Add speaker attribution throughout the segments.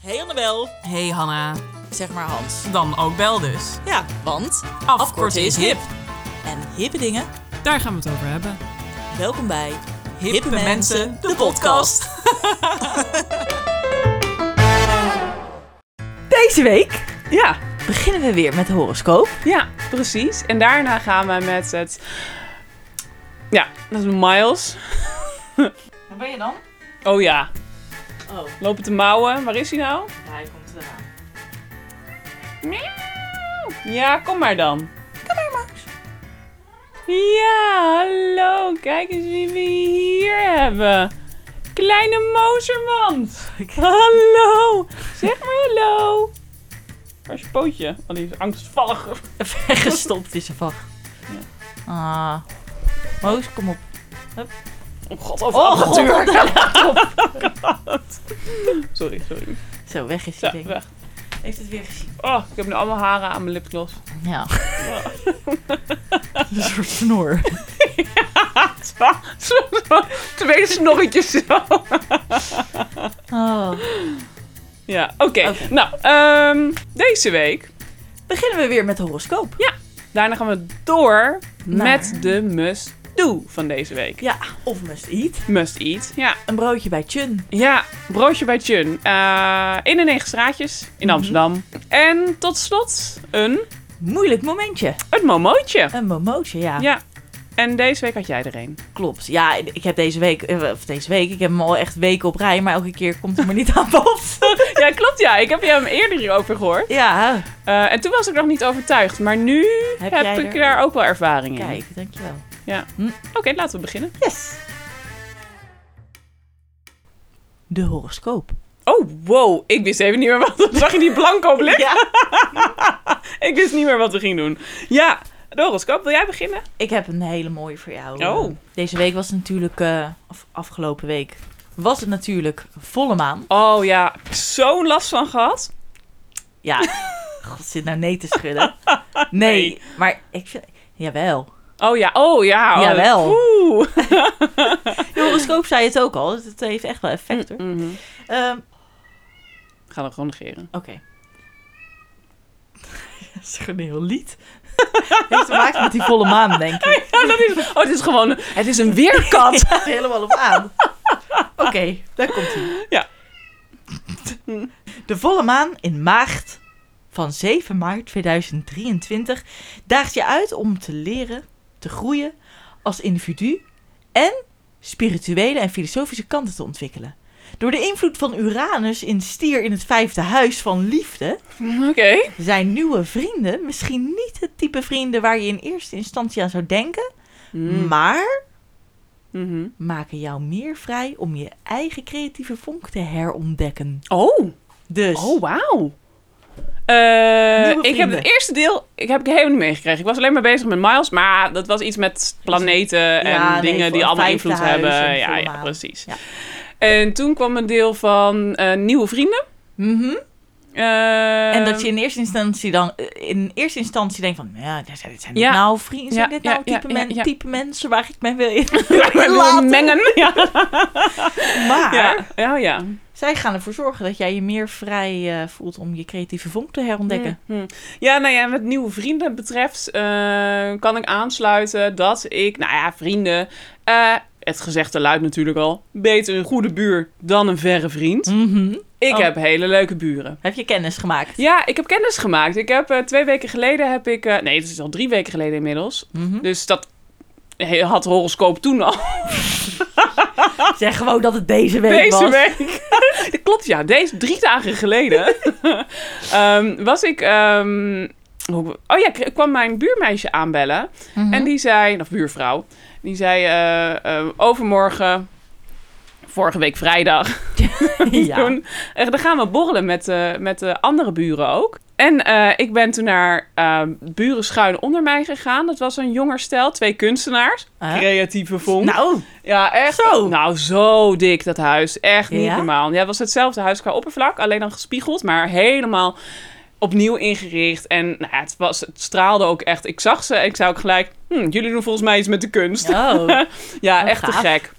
Speaker 1: Hey Annabel.
Speaker 2: Hey Hanna,
Speaker 1: Zeg maar Hans.
Speaker 2: dan ook bel dus.
Speaker 1: Ja, want
Speaker 2: Afkorten is hip.
Speaker 1: En hippe dingen.
Speaker 2: Daar gaan we het over hebben.
Speaker 1: Welkom bij Hippe,
Speaker 2: Mensen, de
Speaker 3: Deze week
Speaker 4: Ja,
Speaker 3: beginnen we weer met de horoscoop.
Speaker 4: ja, precies. En daarna gaan we met het. Ja, dat is Miles.
Speaker 3: Waar ben je dan?
Speaker 4: Oh ja,
Speaker 3: Oh,
Speaker 4: lopen te mouwen. Waar is hij nou?
Speaker 3: hij komt eraan.
Speaker 4: Ja, kom maar dan. Kom maar, Max. Ja, hallo. Kijk eens wie we hier hebben. Kleine Mozermand. Hallo. Zeg maar hallo. Waar is je pootje? Oh, die is angstvallig.
Speaker 3: Weggestopt is er van. Ah. Moos, kom op.
Speaker 4: Oh god, over oh, amateur. sorry, sorry.
Speaker 3: Zo, weg is die
Speaker 4: Zo,
Speaker 3: ding.
Speaker 4: weg.
Speaker 3: Heeft het weer gezien?
Speaker 4: Oh, ik heb nu allemaal haren aan mijn lipgloss.
Speaker 3: Ja. Een soort snor.
Speaker 4: Ah. Twee snorretjes zo.
Speaker 3: Oh.
Speaker 4: Ja, oké.
Speaker 3: Oké.
Speaker 4: Nou, ehm, deze week.
Speaker 3: Beginnen we weer met de horoscoop.
Speaker 4: Daarna gaan we door
Speaker 3: Naar-
Speaker 4: met de must do van deze week.
Speaker 3: Ja, of must eat.
Speaker 4: Must eat. Ja,
Speaker 3: Een broodje bij Chun.
Speaker 4: ja broodje bij Chun. Eh, in de negen straatjes in
Speaker 3: Mhm.
Speaker 4: Amsterdam. En tot slot een,
Speaker 3: Moeilijk momentje.
Speaker 4: een momootje.
Speaker 3: Een momootje, ja.
Speaker 4: Ja. En deze week had jij er een.
Speaker 3: Klopt. Ja, ik heb deze week, eh, of deze week, ik heb hem al echt weken op rij, maar elke keer komt hij me niet aan bod.
Speaker 4: Ja, klopt ja. Ik heb hem eerder hierover gehoord.
Speaker 3: Ja,
Speaker 4: Eh, en toen was ik nog niet overtuigd. Maar nu
Speaker 3: Heb
Speaker 4: heb,
Speaker 3: jij
Speaker 4: ik
Speaker 3: er-
Speaker 4: daar ook wel ervaring in.
Speaker 3: kijk, dankjewel.
Speaker 4: Oké, laten we beginnen.
Speaker 3: Yes. De horoscoop.
Speaker 4: Oh, wow. Ik wist even niet meer wat... Zag je die blanco blik?
Speaker 3: Ja.
Speaker 4: Ik wist niet meer wat we gingen doen. Ja, de horoscoop. Wil jij beginnen?
Speaker 3: Ik heb een hele mooie voor jou.
Speaker 4: Oh.
Speaker 3: Deze week was het natuurlijk, eh, of afgelopen week, was het natuurlijk volle maan.
Speaker 4: Oh ja, zo'n last van gehad.
Speaker 3: Ja. God, zit nou nee te schudden. Nee,
Speaker 4: Nee.
Speaker 3: maar ik vind... Jawel.
Speaker 4: Oh ja, oh ja. Oh,
Speaker 3: Jawel.
Speaker 4: Oeh.
Speaker 3: De horoscoop zei het ook al, dus het heeft echt wel effect hoor.
Speaker 4: Mhm.
Speaker 3: Ehm,
Speaker 4: Ik ga hem gewoon negeren.
Speaker 3: Oké. dat is gewoon een heel lied. heeft te maken met die volle maan, denk ik.
Speaker 4: Ja, dat is... Oh, het is gewoon... Het is een weerkat.
Speaker 3: Ik zit er helemaal op aan. Oké, daar komt hij.
Speaker 4: Ja.
Speaker 3: De volle maan in maagd van 7 maart 2023 daagt je uit om te leren, te groeien als individu en spirituele en filosofische kanten te ontwikkelen. Door de invloed van Uranus in stier in het vijfde huis van liefde
Speaker 4: Oké.
Speaker 3: zijn nieuwe vrienden misschien niet het type vrienden waar je in eerste instantie aan zou denken,
Speaker 4: Mm.
Speaker 3: maar
Speaker 4: Mhm.
Speaker 3: maken jou meer vrij om je eigen creatieve vonk te herontdekken.
Speaker 4: Oh.
Speaker 3: Dus
Speaker 4: Oh, wauw. Eh,
Speaker 3: Nieuwe
Speaker 4: ik heb
Speaker 3: vrienden.
Speaker 4: het eerste deel ik heb ik helemaal niet meegekregen. Ik was alleen maar bezig met Miles, maar dat was iets met planeten en
Speaker 3: Ja, nee,
Speaker 4: dingen
Speaker 3: voor
Speaker 4: die allemaal
Speaker 3: vijfde
Speaker 4: invloed
Speaker 3: huis
Speaker 4: hebben.
Speaker 3: en
Speaker 4: Ja,
Speaker 3: volle
Speaker 4: ja,
Speaker 3: maan.
Speaker 4: precies.
Speaker 3: Ja.
Speaker 4: En toen kwam een deel van eh, nieuwe vrienden.
Speaker 3: mhm.
Speaker 4: Eh,
Speaker 3: en dat je in eerste instantie dan eh, in eerste instantie denkt van, ja, dit zijn dit
Speaker 4: Ja.
Speaker 3: nou vrienden, zijn
Speaker 4: Ja,
Speaker 3: dit nou
Speaker 4: ja, ja,
Speaker 3: type,
Speaker 4: ja,
Speaker 3: men-
Speaker 4: ja.
Speaker 3: type mensen waar ik mee wil in
Speaker 4: wil
Speaker 3: laten?
Speaker 4: mengen. Ja.
Speaker 3: Maar
Speaker 4: Ja. ja, ja.
Speaker 3: zij gaan ervoor zorgen dat jij je meer vrij eh, voelt om je creatieve vonk te herontdekken.
Speaker 4: Hm, hm. Ja, nou ja, wat nieuwe vrienden betreft eh, kan ik aansluiten dat ik, nou ja, vrienden, eh, het gezegde luidt natuurlijk al, beter een goede buur dan een verre vriend.
Speaker 3: Mhm.
Speaker 4: Ik
Speaker 3: Oh.
Speaker 4: heb hele leuke buren.
Speaker 3: Heb je kennis gemaakt?
Speaker 4: Ja, ik heb kennis gemaakt. Ik heb eh, twee weken geleden heb ik. eh, nee, het is al drie weken geleden inmiddels.
Speaker 3: Mhm.
Speaker 4: Dus dat he- had horoscoop toen al.
Speaker 3: Zeg gewoon dat het deze week
Speaker 4: deze
Speaker 3: was.
Speaker 4: week. dat klopt, ja. Deze drie dagen geleden ehm, was ik. ehm, hoe- oh ja, ik kwam mijn buurmeisje aanbellen.
Speaker 3: Mhm.
Speaker 4: En die zei, of buurvrouw, die zei eh, eh, overmorgen, vorige week vrijdag,
Speaker 3: ja.
Speaker 4: Toen, eh, dan gaan we borrelen met, eh, met de andere buren ook. En eh, ik ben toen naar eh, buren schuin onder mij gegaan. Dat was een jonger stel, twee kunstenaars.
Speaker 3: Huh?
Speaker 4: Creatieve vonk.
Speaker 3: Nou,
Speaker 4: ja, echt.
Speaker 3: zo.
Speaker 4: Nou, zo dik dat huis. Echt niet
Speaker 3: Ja?
Speaker 4: normaal. Ja, het was hetzelfde huis qua oppervlak, alleen dan gespiegeld, maar helemaal opnieuw ingericht. En nou, ja, het, was, het straalde ook echt. Ik zag ze en ik zei ook gelijk, "Hm, jullie doen volgens mij iets met de kunst.
Speaker 3: oh.
Speaker 4: Ja,
Speaker 3: Oh,
Speaker 4: echt te
Speaker 3: gaaf.
Speaker 4: gek.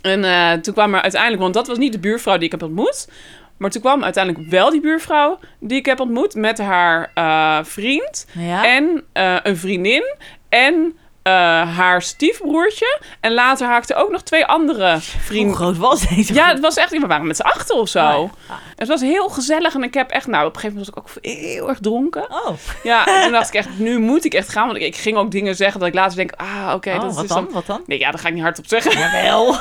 Speaker 4: En eh, toen kwam er uiteindelijk, want dat was niet de buurvrouw die ik heb ontmoet. Maar toen kwam uiteindelijk wel die buurvrouw die ik heb ontmoet met haar eh, vriend
Speaker 3: Ja.
Speaker 4: en eh, een vriendin en eh, haar stiefbroertje. En later haakten ook nog twee andere
Speaker 3: Hoe
Speaker 4: vrienden.
Speaker 3: groot was deze
Speaker 4: Ja,
Speaker 3: groep?
Speaker 4: het was echt, we waren met z'n achten of zo.
Speaker 3: Oh,
Speaker 4: Het was heel gezellig en ik heb echt, nou op een gegeven moment was ik ook heel erg dronken.
Speaker 3: Oh,
Speaker 4: Ja, en toen dacht ik echt, nu moet ik echt gaan. Want ik, ik ging ook dingen zeggen dat ik later denk, ah, oké,
Speaker 3: Oh,
Speaker 4: dat
Speaker 3: wat
Speaker 4: is
Speaker 3: dan? Wat dan? Nou,
Speaker 4: Nee, ja, daar ga ik niet hardop zeggen.
Speaker 3: Jawel.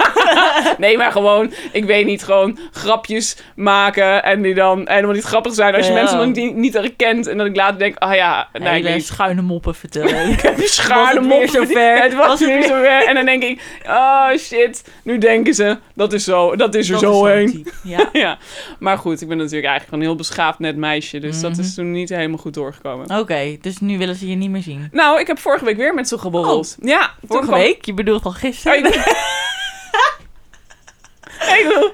Speaker 4: Nee, maar gewoon, ik weet niet, gewoon grapjes maken en die dan helemaal niet grappig zijn. Als je
Speaker 3: Ja.
Speaker 4: mensen nog niet, niet herkent en dat ik later denk, ah ja, nee, ik
Speaker 3: Hele
Speaker 4: weet
Speaker 3: schuine moppen vertellen.
Speaker 4: niet. Schaarde
Speaker 3: het
Speaker 4: mond.
Speaker 3: weer zover?
Speaker 4: Het was,
Speaker 3: Was het
Speaker 4: weer zover. En dan denk ik, oh shit, nu denken ze, dat is zo, dat is er
Speaker 3: Dat
Speaker 4: zo
Speaker 3: is zo'n
Speaker 4: heen.
Speaker 3: type. Ja.
Speaker 4: Ja, maar goed, ik ben natuurlijk eigenlijk een heel beschaafd net meisje.
Speaker 3: Mhm.
Speaker 4: Dus dat is toen niet helemaal goed doorgekomen.
Speaker 3: Oké, dus nu willen ze je niet meer zien.
Speaker 4: Nou, ik heb vorige week weer met ze geborreld. ja, toen
Speaker 3: Oh, Vorige
Speaker 4: kwam-
Speaker 3: week? Je bedoelt al gisteren?
Speaker 4: Oh, ik- Hey, Lou.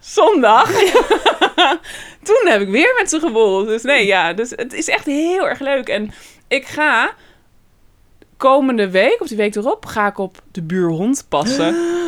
Speaker 4: Zondag. toen heb ik weer met ze geborreld. Dus nee, ja, dus het is echt heel erg leuk. En ik ga komende week, of die week erop, ga ik op de buurhond passen.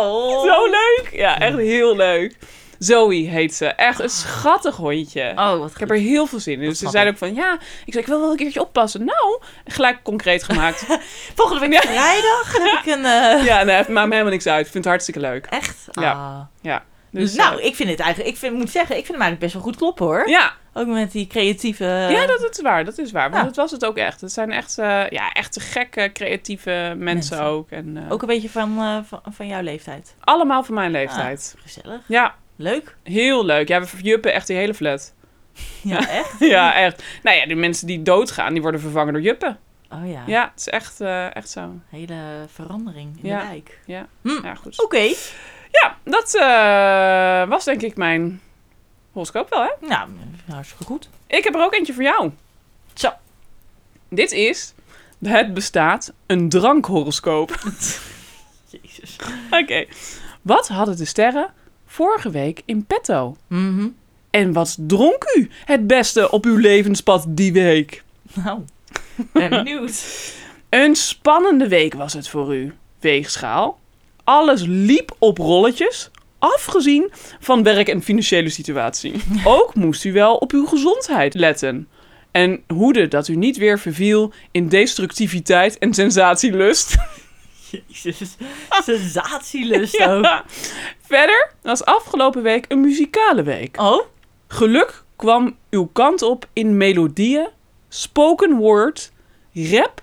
Speaker 3: Oh.
Speaker 4: Zo leuk! Ja, echt heel leuk. Zoe heet ze. Echt een schattig hondje.
Speaker 3: Oh, wat
Speaker 4: Ik heb er heel veel zin in. Dus ze
Speaker 3: snap
Speaker 4: zeiden
Speaker 3: ik.
Speaker 4: ook van, ja, ik zei, ik wil wel een keertje oppassen. Nou, gelijk concreet gemaakt.
Speaker 3: Volgende week vrijdag heb ik een... eh,
Speaker 4: ja, nee, het maakt me helemaal niks uit. Ik vind het hartstikke leuk.
Speaker 3: Echt?
Speaker 4: Ja.
Speaker 3: Ah.
Speaker 4: Ja.
Speaker 3: Dus,
Speaker 4: eh,
Speaker 3: nou, ik vind het eigenlijk... Ik vind, moet zeggen, ik vind hem eigenlijk best wel goed kloppen, hoor.
Speaker 4: ja,
Speaker 3: Ook met die creatieve...
Speaker 4: ja dat, dat is waar. Dat is waar. Want
Speaker 3: Eh. ja.
Speaker 4: dat was het ook echt. Het zijn echt, eh, ja, echt te gekke, creatieve mensen,
Speaker 3: Mensen.
Speaker 4: ook. En eh,
Speaker 3: Ook een beetje van, eh, van, van jouw leeftijd.
Speaker 4: allemaal van mijn leeftijd.
Speaker 3: Gezellig.
Speaker 4: Ja,
Speaker 3: Leuk.
Speaker 4: heel leuk. Ja, we verjuppen echt die hele flat.
Speaker 3: Ja, echt.
Speaker 4: ja, echt. Nou ja, de mensen die doodgaan, die worden vervangen door juppen.
Speaker 3: Oh ja.
Speaker 4: Ja, het is echt, eh, echt zo.
Speaker 3: Hele verandering in
Speaker 4: Ja.
Speaker 3: de wijk.
Speaker 4: Ja,
Speaker 3: Hm.
Speaker 4: ja goed.
Speaker 3: Oké.
Speaker 4: Ja, dat eh, was denk ik mijn horoscoop wel, hè?
Speaker 3: Nou, hartstikke goed.
Speaker 4: Ik heb er ook eentje voor jou.
Speaker 3: Zo.
Speaker 4: Dit is... Het bestaat een drankhoroscoop.
Speaker 3: Jezus.
Speaker 4: Oké. Wat hadden de sterren vorige week in petto?
Speaker 3: Mhm.
Speaker 4: En wat dronk u het beste op uw levenspad die week?
Speaker 3: Nou, ben benieuwd.
Speaker 4: Een spannende week was het voor u, weegschaal. Alles liep op rolletjes, afgezien van werk en financiële situatie. Ook moest u wel op uw gezondheid letten. En hoede dat u niet weer verviel in destructiviteit en sensatielust.
Speaker 3: Jezus. Sensatielust ook.
Speaker 4: Ja. Verder was afgelopen week een muzikale week.
Speaker 3: Oh?
Speaker 4: Geluk kwam uw kant op in melodieën, spoken word, rap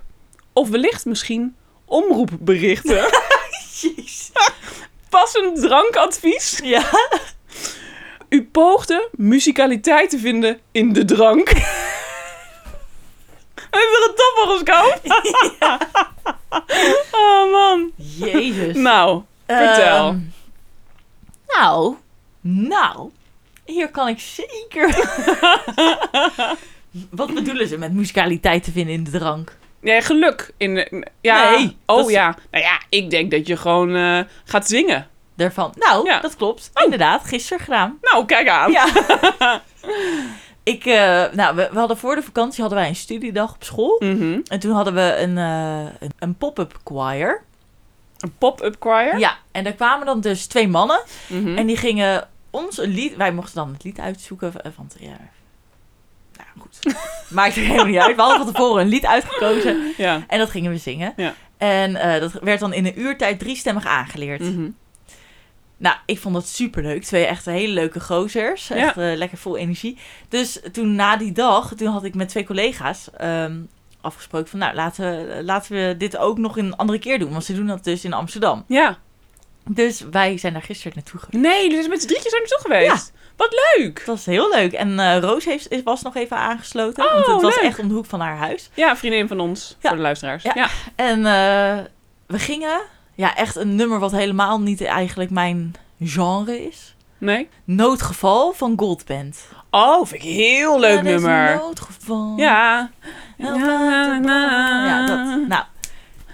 Speaker 4: of wellicht misschien omroepberichten.
Speaker 3: Jezus.
Speaker 4: Passend drankadvies.
Speaker 3: Ja.
Speaker 4: U poogde muzikaliteit te vinden in de drank. Heb je een tophoroscoop? Oh man.
Speaker 3: Jezus.
Speaker 4: Nou, vertel.
Speaker 3: Ehm, nou, nou, hier kan ik zeker. Wat bedoelen ze met musicaliteit te vinden in de drank?
Speaker 4: Ja, geluk. In, de- ja.
Speaker 3: Nee, dat
Speaker 4: oh
Speaker 3: is-
Speaker 4: ja. Nou ja, ik denk dat je gewoon eh, gaat zingen.
Speaker 3: Daarvan. Nou,
Speaker 4: Ja.
Speaker 3: dat klopt. Inderdaad, gisteren gedaan.
Speaker 4: Nou, kijk aan.
Speaker 3: Ja. ik, eh, nou, we, we hadden voor de vakantie hadden wij een studiedag op school.
Speaker 4: Mhm.
Speaker 3: En toen hadden we een, eh, een, een pop-up choir.
Speaker 4: Een pop-up choir.
Speaker 3: Ja, en daar kwamen dan dus twee mannen.
Speaker 4: Mhm.
Speaker 3: En die gingen ons een lied... Wij mochten dan het lied uitzoeken, eh, want ja... Nou, goed. Maakt er helemaal niet uit. We hadden van tevoren een lied uitgekozen.
Speaker 4: ja.
Speaker 3: En dat gingen we zingen.
Speaker 4: Ja.
Speaker 3: En eh, dat werd dan in een uurtijd driestemmig aangeleerd.
Speaker 4: Mhm.
Speaker 3: Nou, ik vond dat superleuk. Twee echt hele leuke gozers. Echt eh, lekker vol energie. Dus toen na die dag, toen had ik met twee collega's ehm, afgesproken van... Nou, laten, we- laten we dit ook nog een andere keer doen. Want ze doen dat dus in Amsterdam.
Speaker 4: Ja.
Speaker 3: Dus wij zijn daar gisteren naartoe gegaan.
Speaker 4: Nee, dus met z'n drietjes zijn we toch geweest? Wat leuk!
Speaker 3: Het was heel leuk. En eh, Roos heeft, is- was nog even aangesloten. want het
Speaker 4: Oh,
Speaker 3: was
Speaker 4: leuk.
Speaker 3: echt om de hoek van haar huis.
Speaker 4: Ja, vriendin van ons,
Speaker 3: Ja.
Speaker 4: voor de luisteraars.
Speaker 3: Ja.
Speaker 4: Ja. Ja.
Speaker 3: En eh, we gingen. Ja, echt een nummer wat helemaal niet eigenlijk mijn genre is.
Speaker 4: Nee?
Speaker 3: Noodgeval van Goldband.
Speaker 4: Oh, vind ik heel leuk
Speaker 3: Ja, er is een
Speaker 4: nummer.
Speaker 3: Noodgeval.
Speaker 4: Ja.
Speaker 3: Help uit de brand. Ja, dat. Nou.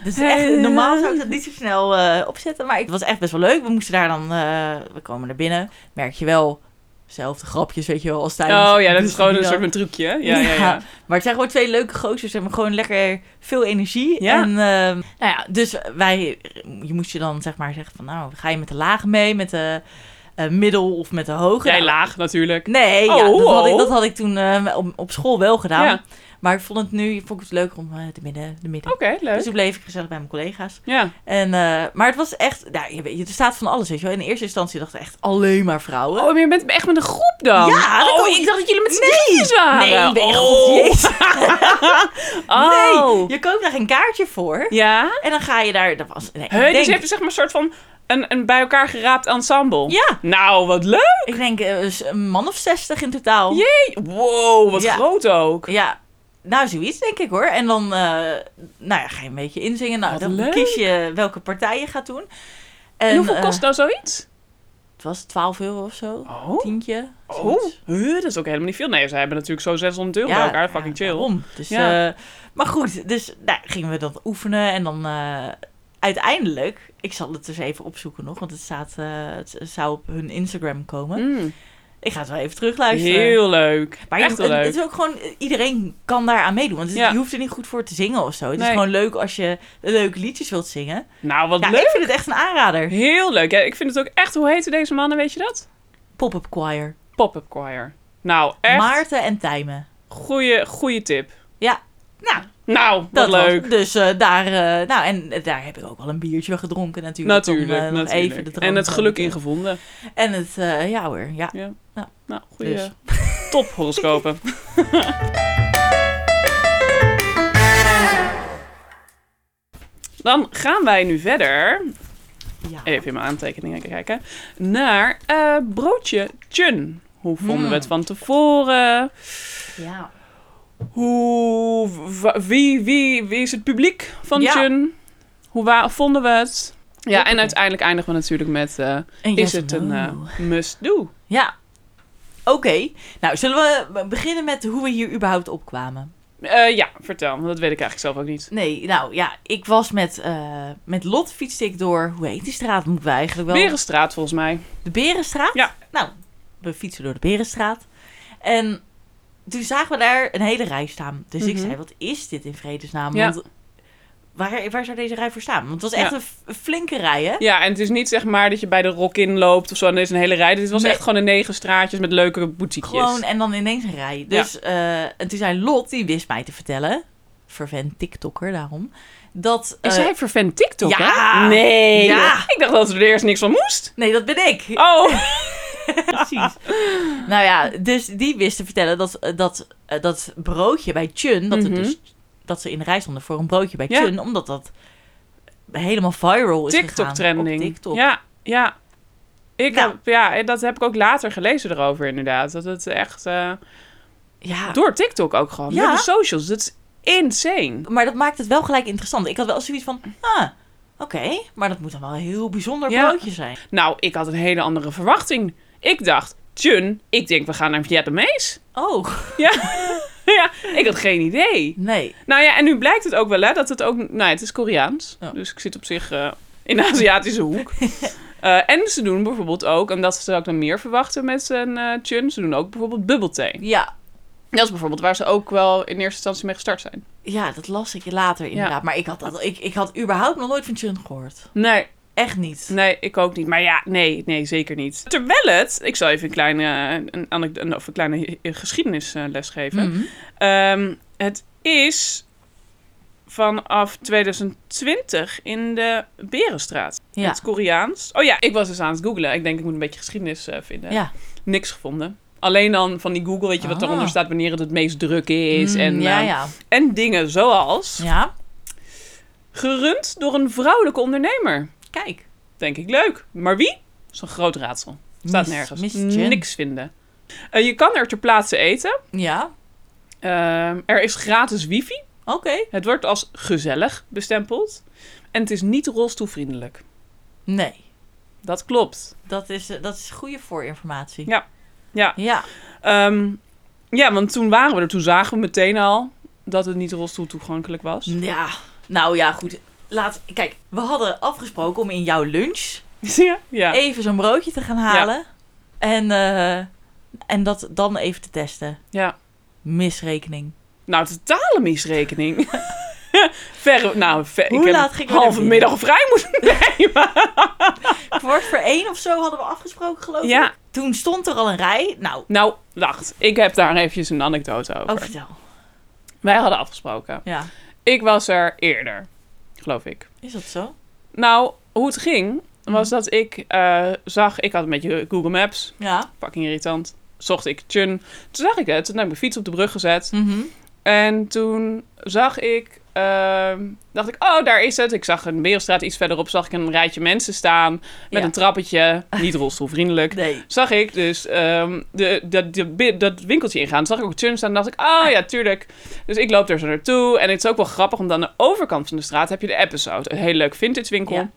Speaker 3: Dus echt, normaal zou ik dat niet zo snel eh, opzetten. Maar het was echt best wel leuk. We moesten daar dan... eh, we komen naar binnen. Merk je wel... Zelfde grapjes, weet je wel, als tijdens...
Speaker 4: Oh ja, dat
Speaker 3: dus
Speaker 4: is gewoon een
Speaker 3: die
Speaker 4: soort
Speaker 3: dan-
Speaker 4: van trucje. hè? Ja, ja,
Speaker 3: Ja.
Speaker 4: ja.
Speaker 3: Maar het zijn gewoon twee leuke gozers. Ze hebben gewoon lekker veel energie.
Speaker 4: Ja.
Speaker 3: En, ehm, nou ja, dus wij, je moest je dan zeg maar zeggen van, nou, ga je met de laag mee? Met de eh, middel of met de hoge.
Speaker 4: Jij
Speaker 3: Nou,
Speaker 4: laag natuurlijk.
Speaker 3: Nee,
Speaker 4: Oh,
Speaker 3: ja, dat, had ik,
Speaker 4: oh.
Speaker 3: dat had ik toen eh, op, op school wel gedaan.
Speaker 4: Ja.
Speaker 3: Maar ik vond het nu vond ik het leuker om eh, de midden. De midden.
Speaker 4: Oké,
Speaker 3: Dus
Speaker 4: leuk.
Speaker 3: toen bleef ik gezellig bij mijn collega's.
Speaker 4: Ja.
Speaker 3: En, eh, maar het was echt, nou, je weet, je- er staat van alles, weet je wel. In eerste instantie dacht ik echt alleen maar vrouwen.
Speaker 4: Oh, maar je bent echt met een groep dan?
Speaker 3: Ja, dat
Speaker 4: Oh,
Speaker 3: kan-
Speaker 4: ik dacht dat jullie met z'n
Speaker 3: Nee.
Speaker 4: drieën waren.
Speaker 3: nee, nee,
Speaker 4: oh.
Speaker 3: god, jezus.
Speaker 4: Oh.
Speaker 3: Nee, je koopt daar een kaartje voor.
Speaker 4: Ja?
Speaker 3: En dan ga je daar, dat was, nee,
Speaker 4: Hè,
Speaker 3: ik
Speaker 4: dus
Speaker 3: denk,
Speaker 4: je hebt zeg maar een soort van een, een bij elkaar geraapt ensemble.
Speaker 3: Ja.
Speaker 4: Nou, wat leuk.
Speaker 3: ik denk eh, s- een man of zestig in totaal.
Speaker 4: Jee. Wow, wat
Speaker 3: Ja.
Speaker 4: groot ook.
Speaker 3: Ja, nou zoiets denk ik hoor. En dan eh, nou ja, ga je een beetje inzingen. Nou,
Speaker 4: Wat
Speaker 3: dan
Speaker 4: leuk.
Speaker 3: kies je welke partij je gaat doen. En,
Speaker 4: En hoeveel
Speaker 3: eh,
Speaker 4: kost nou zoiets?
Speaker 3: Het was 12 euro of zo.
Speaker 4: Oh.
Speaker 3: Tientje.
Speaker 4: Oh,
Speaker 3: zoiets.
Speaker 4: huh, dat is ook helemaal niet veel. Nee, ze hebben natuurlijk zo 600 euro bij elkaar. Fucking chill.
Speaker 3: daarom. Dus,
Speaker 4: Ja.
Speaker 3: eh, maar goed, dus nou, gingen we dat oefenen. En dan eh, uiteindelijk, ik zal het dus even opzoeken nog, want het, staat, eh, het zou op hun Instagram komen.
Speaker 4: Mm,
Speaker 3: Ik ga het wel even terugluisteren.
Speaker 4: heel leuk.
Speaker 3: maar je-
Speaker 4: echt heel
Speaker 3: het,
Speaker 4: leuk.
Speaker 3: het is ook gewoon, eh, iedereen kan daar aan meedoen. Want het-
Speaker 4: Ja.
Speaker 3: je hoeft er niet goed voor te zingen of zo. Het
Speaker 4: Nee.
Speaker 3: is gewoon leuk als je leuke liedjes wilt zingen.
Speaker 4: nou, wat
Speaker 3: Ja,
Speaker 4: leuk.
Speaker 3: ik vind het echt een aanrader.
Speaker 4: Heel leuk. Ja, ik vind het ook echt... Hoe heten deze mannen, weet je dat?
Speaker 3: Pop-up choir.
Speaker 4: Pop-up choir. Nou, echt
Speaker 3: Maarten en Tijmen.
Speaker 4: goede, goede tip.
Speaker 3: Ja. Nou,
Speaker 4: Nou, wat
Speaker 3: Dat was
Speaker 4: leuk.
Speaker 3: het. Dus eh, daar, eh, nou, en eh, daar heb ik ook wel een biertje gedronken natuurlijk. om,
Speaker 4: Natuurlijk,
Speaker 3: eh, nog
Speaker 4: natuurlijk.
Speaker 3: Even de drank
Speaker 4: en het
Speaker 3: te-
Speaker 4: geluk ingevonden.
Speaker 3: En het, eh, ja hoor, ja.
Speaker 4: Ja.
Speaker 3: Ja.
Speaker 4: Nou, goeie
Speaker 3: Dus.
Speaker 4: top horoscopen. Dan gaan wij nu verder,
Speaker 3: ja.
Speaker 4: even in mijn aantekeningen kijken, naar eh, broodje Chun. Hoe vonden
Speaker 3: Mm.
Speaker 4: we het van tevoren?
Speaker 3: ja.
Speaker 4: Hoe, wa- wie, wie, wie is het publiek van
Speaker 3: Ja.
Speaker 4: Chun? Hoe wa- vonden we het? Ja, en
Speaker 3: Hoppakee.
Speaker 4: uiteindelijk eindigen we natuurlijk met... eh,
Speaker 3: En
Speaker 4: is
Speaker 3: yes
Speaker 4: het
Speaker 3: and
Speaker 4: een
Speaker 3: no.
Speaker 4: eh, must-do?
Speaker 3: Ja. Oké. Nou, zullen we beginnen met hoe we hier überhaupt opkwamen?
Speaker 4: Eh, ja, vertel, want dat weet ik eigenlijk zelf ook niet.
Speaker 3: Nee, nou ja, ik was met, eh, met Lot fietste ik door, hoe heet die straat moeten we eigenlijk wel?
Speaker 4: Berenstraat volgens mij.
Speaker 3: De Berenstraat?
Speaker 4: Ja.
Speaker 3: Nou, we fietsen door de Berenstraat. En toen zagen we daar een hele rij staan. Dus ik
Speaker 4: Mhm.
Speaker 3: zei, wat is dit in vredesnaam?
Speaker 4: Ja.
Speaker 3: Want waar, waar zou deze rij voor staan? Want het was echt
Speaker 4: Ja.
Speaker 3: een f- een flinke rij, hè?
Speaker 4: Ja, en het is niet zeg maar dat je bij de rock in loopt of zo en er is een hele rij. Dit was
Speaker 3: Nee.
Speaker 4: echt gewoon een negen straatjes met leuke boutiquejes.
Speaker 3: Gewoon en dan ineens een rij. Dus eh, en toen zei Lot, die wist mij te vertellen, vervent TikToker daarom, dat.
Speaker 4: Is
Speaker 3: eh,
Speaker 4: hij vervent TikTok?
Speaker 3: Ja.
Speaker 4: Nee.
Speaker 3: Ja.
Speaker 4: Ik dacht dat er eerst niks van moest.
Speaker 3: Nee, dat ben ik.
Speaker 4: Oh.
Speaker 3: Precies. nou ja, dus die wist te vertellen dat eh, dat, eh, dat broodje bij Chun, dat,
Speaker 4: Mhm.
Speaker 3: het dus, dat ze in de rij stonden voor een broodje bij
Speaker 4: Ja.
Speaker 3: Chun, omdat dat helemaal viral is gegaan
Speaker 4: TikTok trending.
Speaker 3: op TikTok.
Speaker 4: Ja, ja. Ik
Speaker 3: Nou.
Speaker 4: heb, ja, en dat heb ik ook later gelezen erover inderdaad. Dat het echt eh,
Speaker 3: Ja.
Speaker 4: door TikTok ook gewoon.
Speaker 3: Ja.
Speaker 4: Door de socials. Dat is insane.
Speaker 3: Maar dat maakt het wel gelijk interessant. Ik had wel zoiets van, ah, oké, maar dat moet dan wel een heel bijzonder
Speaker 4: Ja.
Speaker 3: broodje zijn.
Speaker 4: Nou, ik had een hele andere verwachting. Ik dacht, Jun, ik denk we gaan naar Vietnamees.
Speaker 3: Oh,
Speaker 4: ja, ik had geen idee.
Speaker 3: nee.
Speaker 4: Nou ja, en nu blijkt het ook wel, hè, dat het ook... Nou ja, het is Koreaans,
Speaker 3: Ja.
Speaker 4: dus ik zit op zich eh, in de Aziatische hoek. Eh, en ze doen bijvoorbeeld ook, en dat zou ik dan meer verwachten met zijn eh chun, ze doen ook bijvoorbeeld bubbelthee.
Speaker 3: Ja,
Speaker 4: Dat is bijvoorbeeld waar ze ook wel in eerste instantie mee gestart zijn.
Speaker 3: Ja, dat las ik later inderdaad. Maar ik had, dat, ik, ik had überhaupt nog nooit van Chun gehoord.
Speaker 4: Nee,
Speaker 3: Echt niet.
Speaker 4: nee, ik ook niet. Maar ja, nee, nee, zeker niet. Terwijl het, ik zal even een kleine, eh, een, anek- een, of een kleine eh, geschiedenisles geven.
Speaker 3: Mhm.
Speaker 4: Ehm, het is vanaf 2020 in de Berenstraat.
Speaker 3: Ja.
Speaker 4: Het Koreaans. Oh ja, ik was dus aan het googlen. Ik denk, ik moet een beetje geschiedenis eh, vinden.
Speaker 3: Ja.
Speaker 4: Niks gevonden. Alleen dan van die Google, weet je wat
Speaker 3: Ah.
Speaker 4: daaronder staat, wanneer het het meest druk is.
Speaker 3: Mm,
Speaker 4: en,
Speaker 3: ja,
Speaker 4: eh,
Speaker 3: ja.
Speaker 4: en dingen zoals
Speaker 3: Ja,
Speaker 4: gerund door een vrouwelijke ondernemer.
Speaker 3: kijk.
Speaker 4: Denk ik leuk. Maar wie? Zo'n groot raadsel. Staat
Speaker 3: Miss-
Speaker 4: nergens.
Speaker 3: Miss Chen.
Speaker 4: Niks vinden. Eh, je kan er ter plaatse eten.
Speaker 3: Ja,
Speaker 4: Ehm, er is gratis wifi.
Speaker 3: oké.
Speaker 4: Het wordt als gezellig bestempeld en het is niet rolstoelvriendelijk.
Speaker 3: Nee,
Speaker 4: Dat klopt.
Speaker 3: dat is, eh, dat is goede voorinformatie.
Speaker 4: Ja. Ja.
Speaker 3: Ja,
Speaker 4: Ehm, ja, want toen waren we er, toen zagen we meteen al dat het niet rolstoeltoegankelijk was.
Speaker 3: ja. Nou ja, goed. Laat, kijk, we hadden afgesproken om in jouw lunch
Speaker 4: Ja, ja.
Speaker 3: even zo'n broodje te gaan halen. En, eh, en dat dan even te testen.
Speaker 4: ja.
Speaker 3: Misrekening.
Speaker 4: Nou, totale misrekening. Verre, nou, ver,
Speaker 3: Hoe
Speaker 4: ik heb
Speaker 3: laat ging je
Speaker 4: halve
Speaker 3: naar binnen?
Speaker 4: middag vrij moeten nemen.
Speaker 3: Kwart voor één of zo hadden we afgesproken, geloof ik.
Speaker 4: Ja.
Speaker 3: Toen stond er al een rij. Nou,
Speaker 4: Nou, wacht. Ik heb daar eventjes een anekdote over.
Speaker 3: oh, vertel.
Speaker 4: Wij hadden afgesproken.
Speaker 3: Ja.
Speaker 4: Ik was er eerder, geloof ik.
Speaker 3: Is dat zo?
Speaker 4: Nou, hoe het ging,
Speaker 3: Mm.
Speaker 4: was dat ik eh, zag... Ik had een beetje Google Maps.
Speaker 3: Ja.
Speaker 4: Fucking irritant. Zocht ik Chun. Toen zag ik het. Toen heb ik mijn fiets op de brug gezet.
Speaker 3: Mhm.
Speaker 4: En toen zag ik... ehm, dacht ik, oh, daar is het. Ik zag een Wereldstraat iets verderop. Zag ik een rijtje mensen staan. Met
Speaker 3: Ja.
Speaker 4: een trappetje. Niet rolstoelvriendelijk.
Speaker 3: Nee.
Speaker 4: zag ik dus ehm, de, dat- de bi- dat winkeltje ingaan. Toen zag ik ook Chun staan en dacht ik, ah ja, tuurlijk. Dus ik loop er zo naartoe. En het is ook wel grappig, omdat aan de overkant van de straat heb je de episode. Een hele leuk vintage winkel.
Speaker 3: Ja.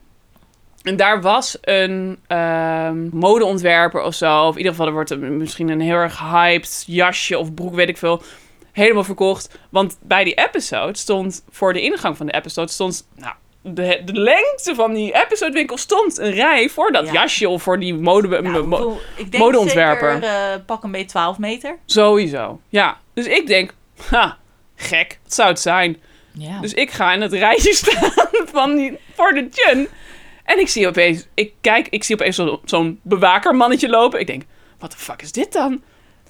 Speaker 4: En daar was een ehm, modeontwerper of zo. Of in ieder geval, er wordt een- misschien een heel erg hyped jasje of broek, weet ik veel. Helemaal verkocht. Want bij die episode stond, voor de ingang van de episode stond, nou, de, de lengte van die episode winkel stond een rij voor dat
Speaker 3: Ja.
Speaker 4: jasje of voor die mode...
Speaker 3: Nou,
Speaker 4: mo-
Speaker 3: ik bedoel, ik denk
Speaker 4: modeontwerper.
Speaker 3: zeker eh, pak een beetje 12 meter.
Speaker 4: Sowieso. Ja. Dus ik denk, ha, gek. Wat zou het zijn?
Speaker 3: Ja.
Speaker 4: Dus ik ga in het rijtje staan van die, voor de Jun. En ik zie opeens, ik kijk, ik zie opeens zo- zo'n bewakermannetje lopen. Ik denk, wat de fuck is dit dan?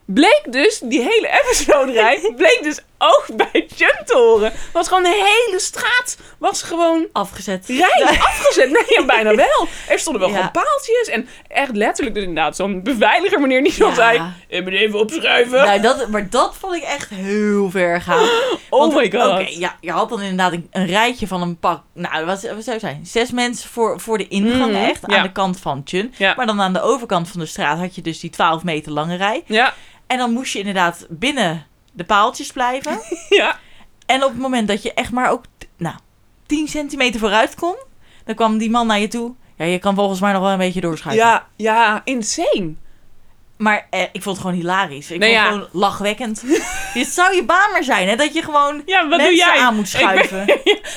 Speaker 4: Bleek dus, die hele episode-rij, bleek dus ook bij Jun te horen. Was gewoon de hele straat, was gewoon
Speaker 3: Afgezet.
Speaker 4: rij afgezet. Nee, ja, bijna wel. Er stonden wel
Speaker 3: Ja.
Speaker 4: gewoon paaltjes. En echt letterlijk, dus inderdaad, zo'n beveiliger meneer die zo
Speaker 3: Ja.
Speaker 4: zei, ik moet even opschuiven.
Speaker 3: Nou, dat, maar dat vond ik echt heel ver gaan.
Speaker 4: oh
Speaker 3: Want,
Speaker 4: my god.
Speaker 3: Oké, ja, je had dan inderdaad een, een rijtje van een pak. Nou, wat, wat zou het zijn? Zes mensen voor, voor de ingang
Speaker 4: Mhm,
Speaker 3: echt.
Speaker 4: ja.
Speaker 3: Aan de kant van Chun.
Speaker 4: Ja.
Speaker 3: Maar dan aan de overkant van de straat had je dus die 12 meter lange rij.
Speaker 4: Ja,
Speaker 3: En dan moest je inderdaad binnen de paaltjes blijven.
Speaker 4: ja.
Speaker 3: en op het moment dat je echt maar ook t- nou, 10 centimeter vooruit kon. Dan kwam die man naar je toe. Ja, je kan volgens mij nog wel een beetje doorschuiven.
Speaker 4: Ja, ja, insane.
Speaker 3: Maar eh, ik vond het gewoon hilarisch. Ik
Speaker 4: Nou
Speaker 3: vond
Speaker 4: ja.
Speaker 3: het gewoon lachwekkend. Dit zou je baan maar zijn, hè? Dat je gewoon
Speaker 4: Ja, wat
Speaker 3: mensen
Speaker 4: doe jij?
Speaker 3: aan moet
Speaker 4: Ik ben-
Speaker 3: schuiven.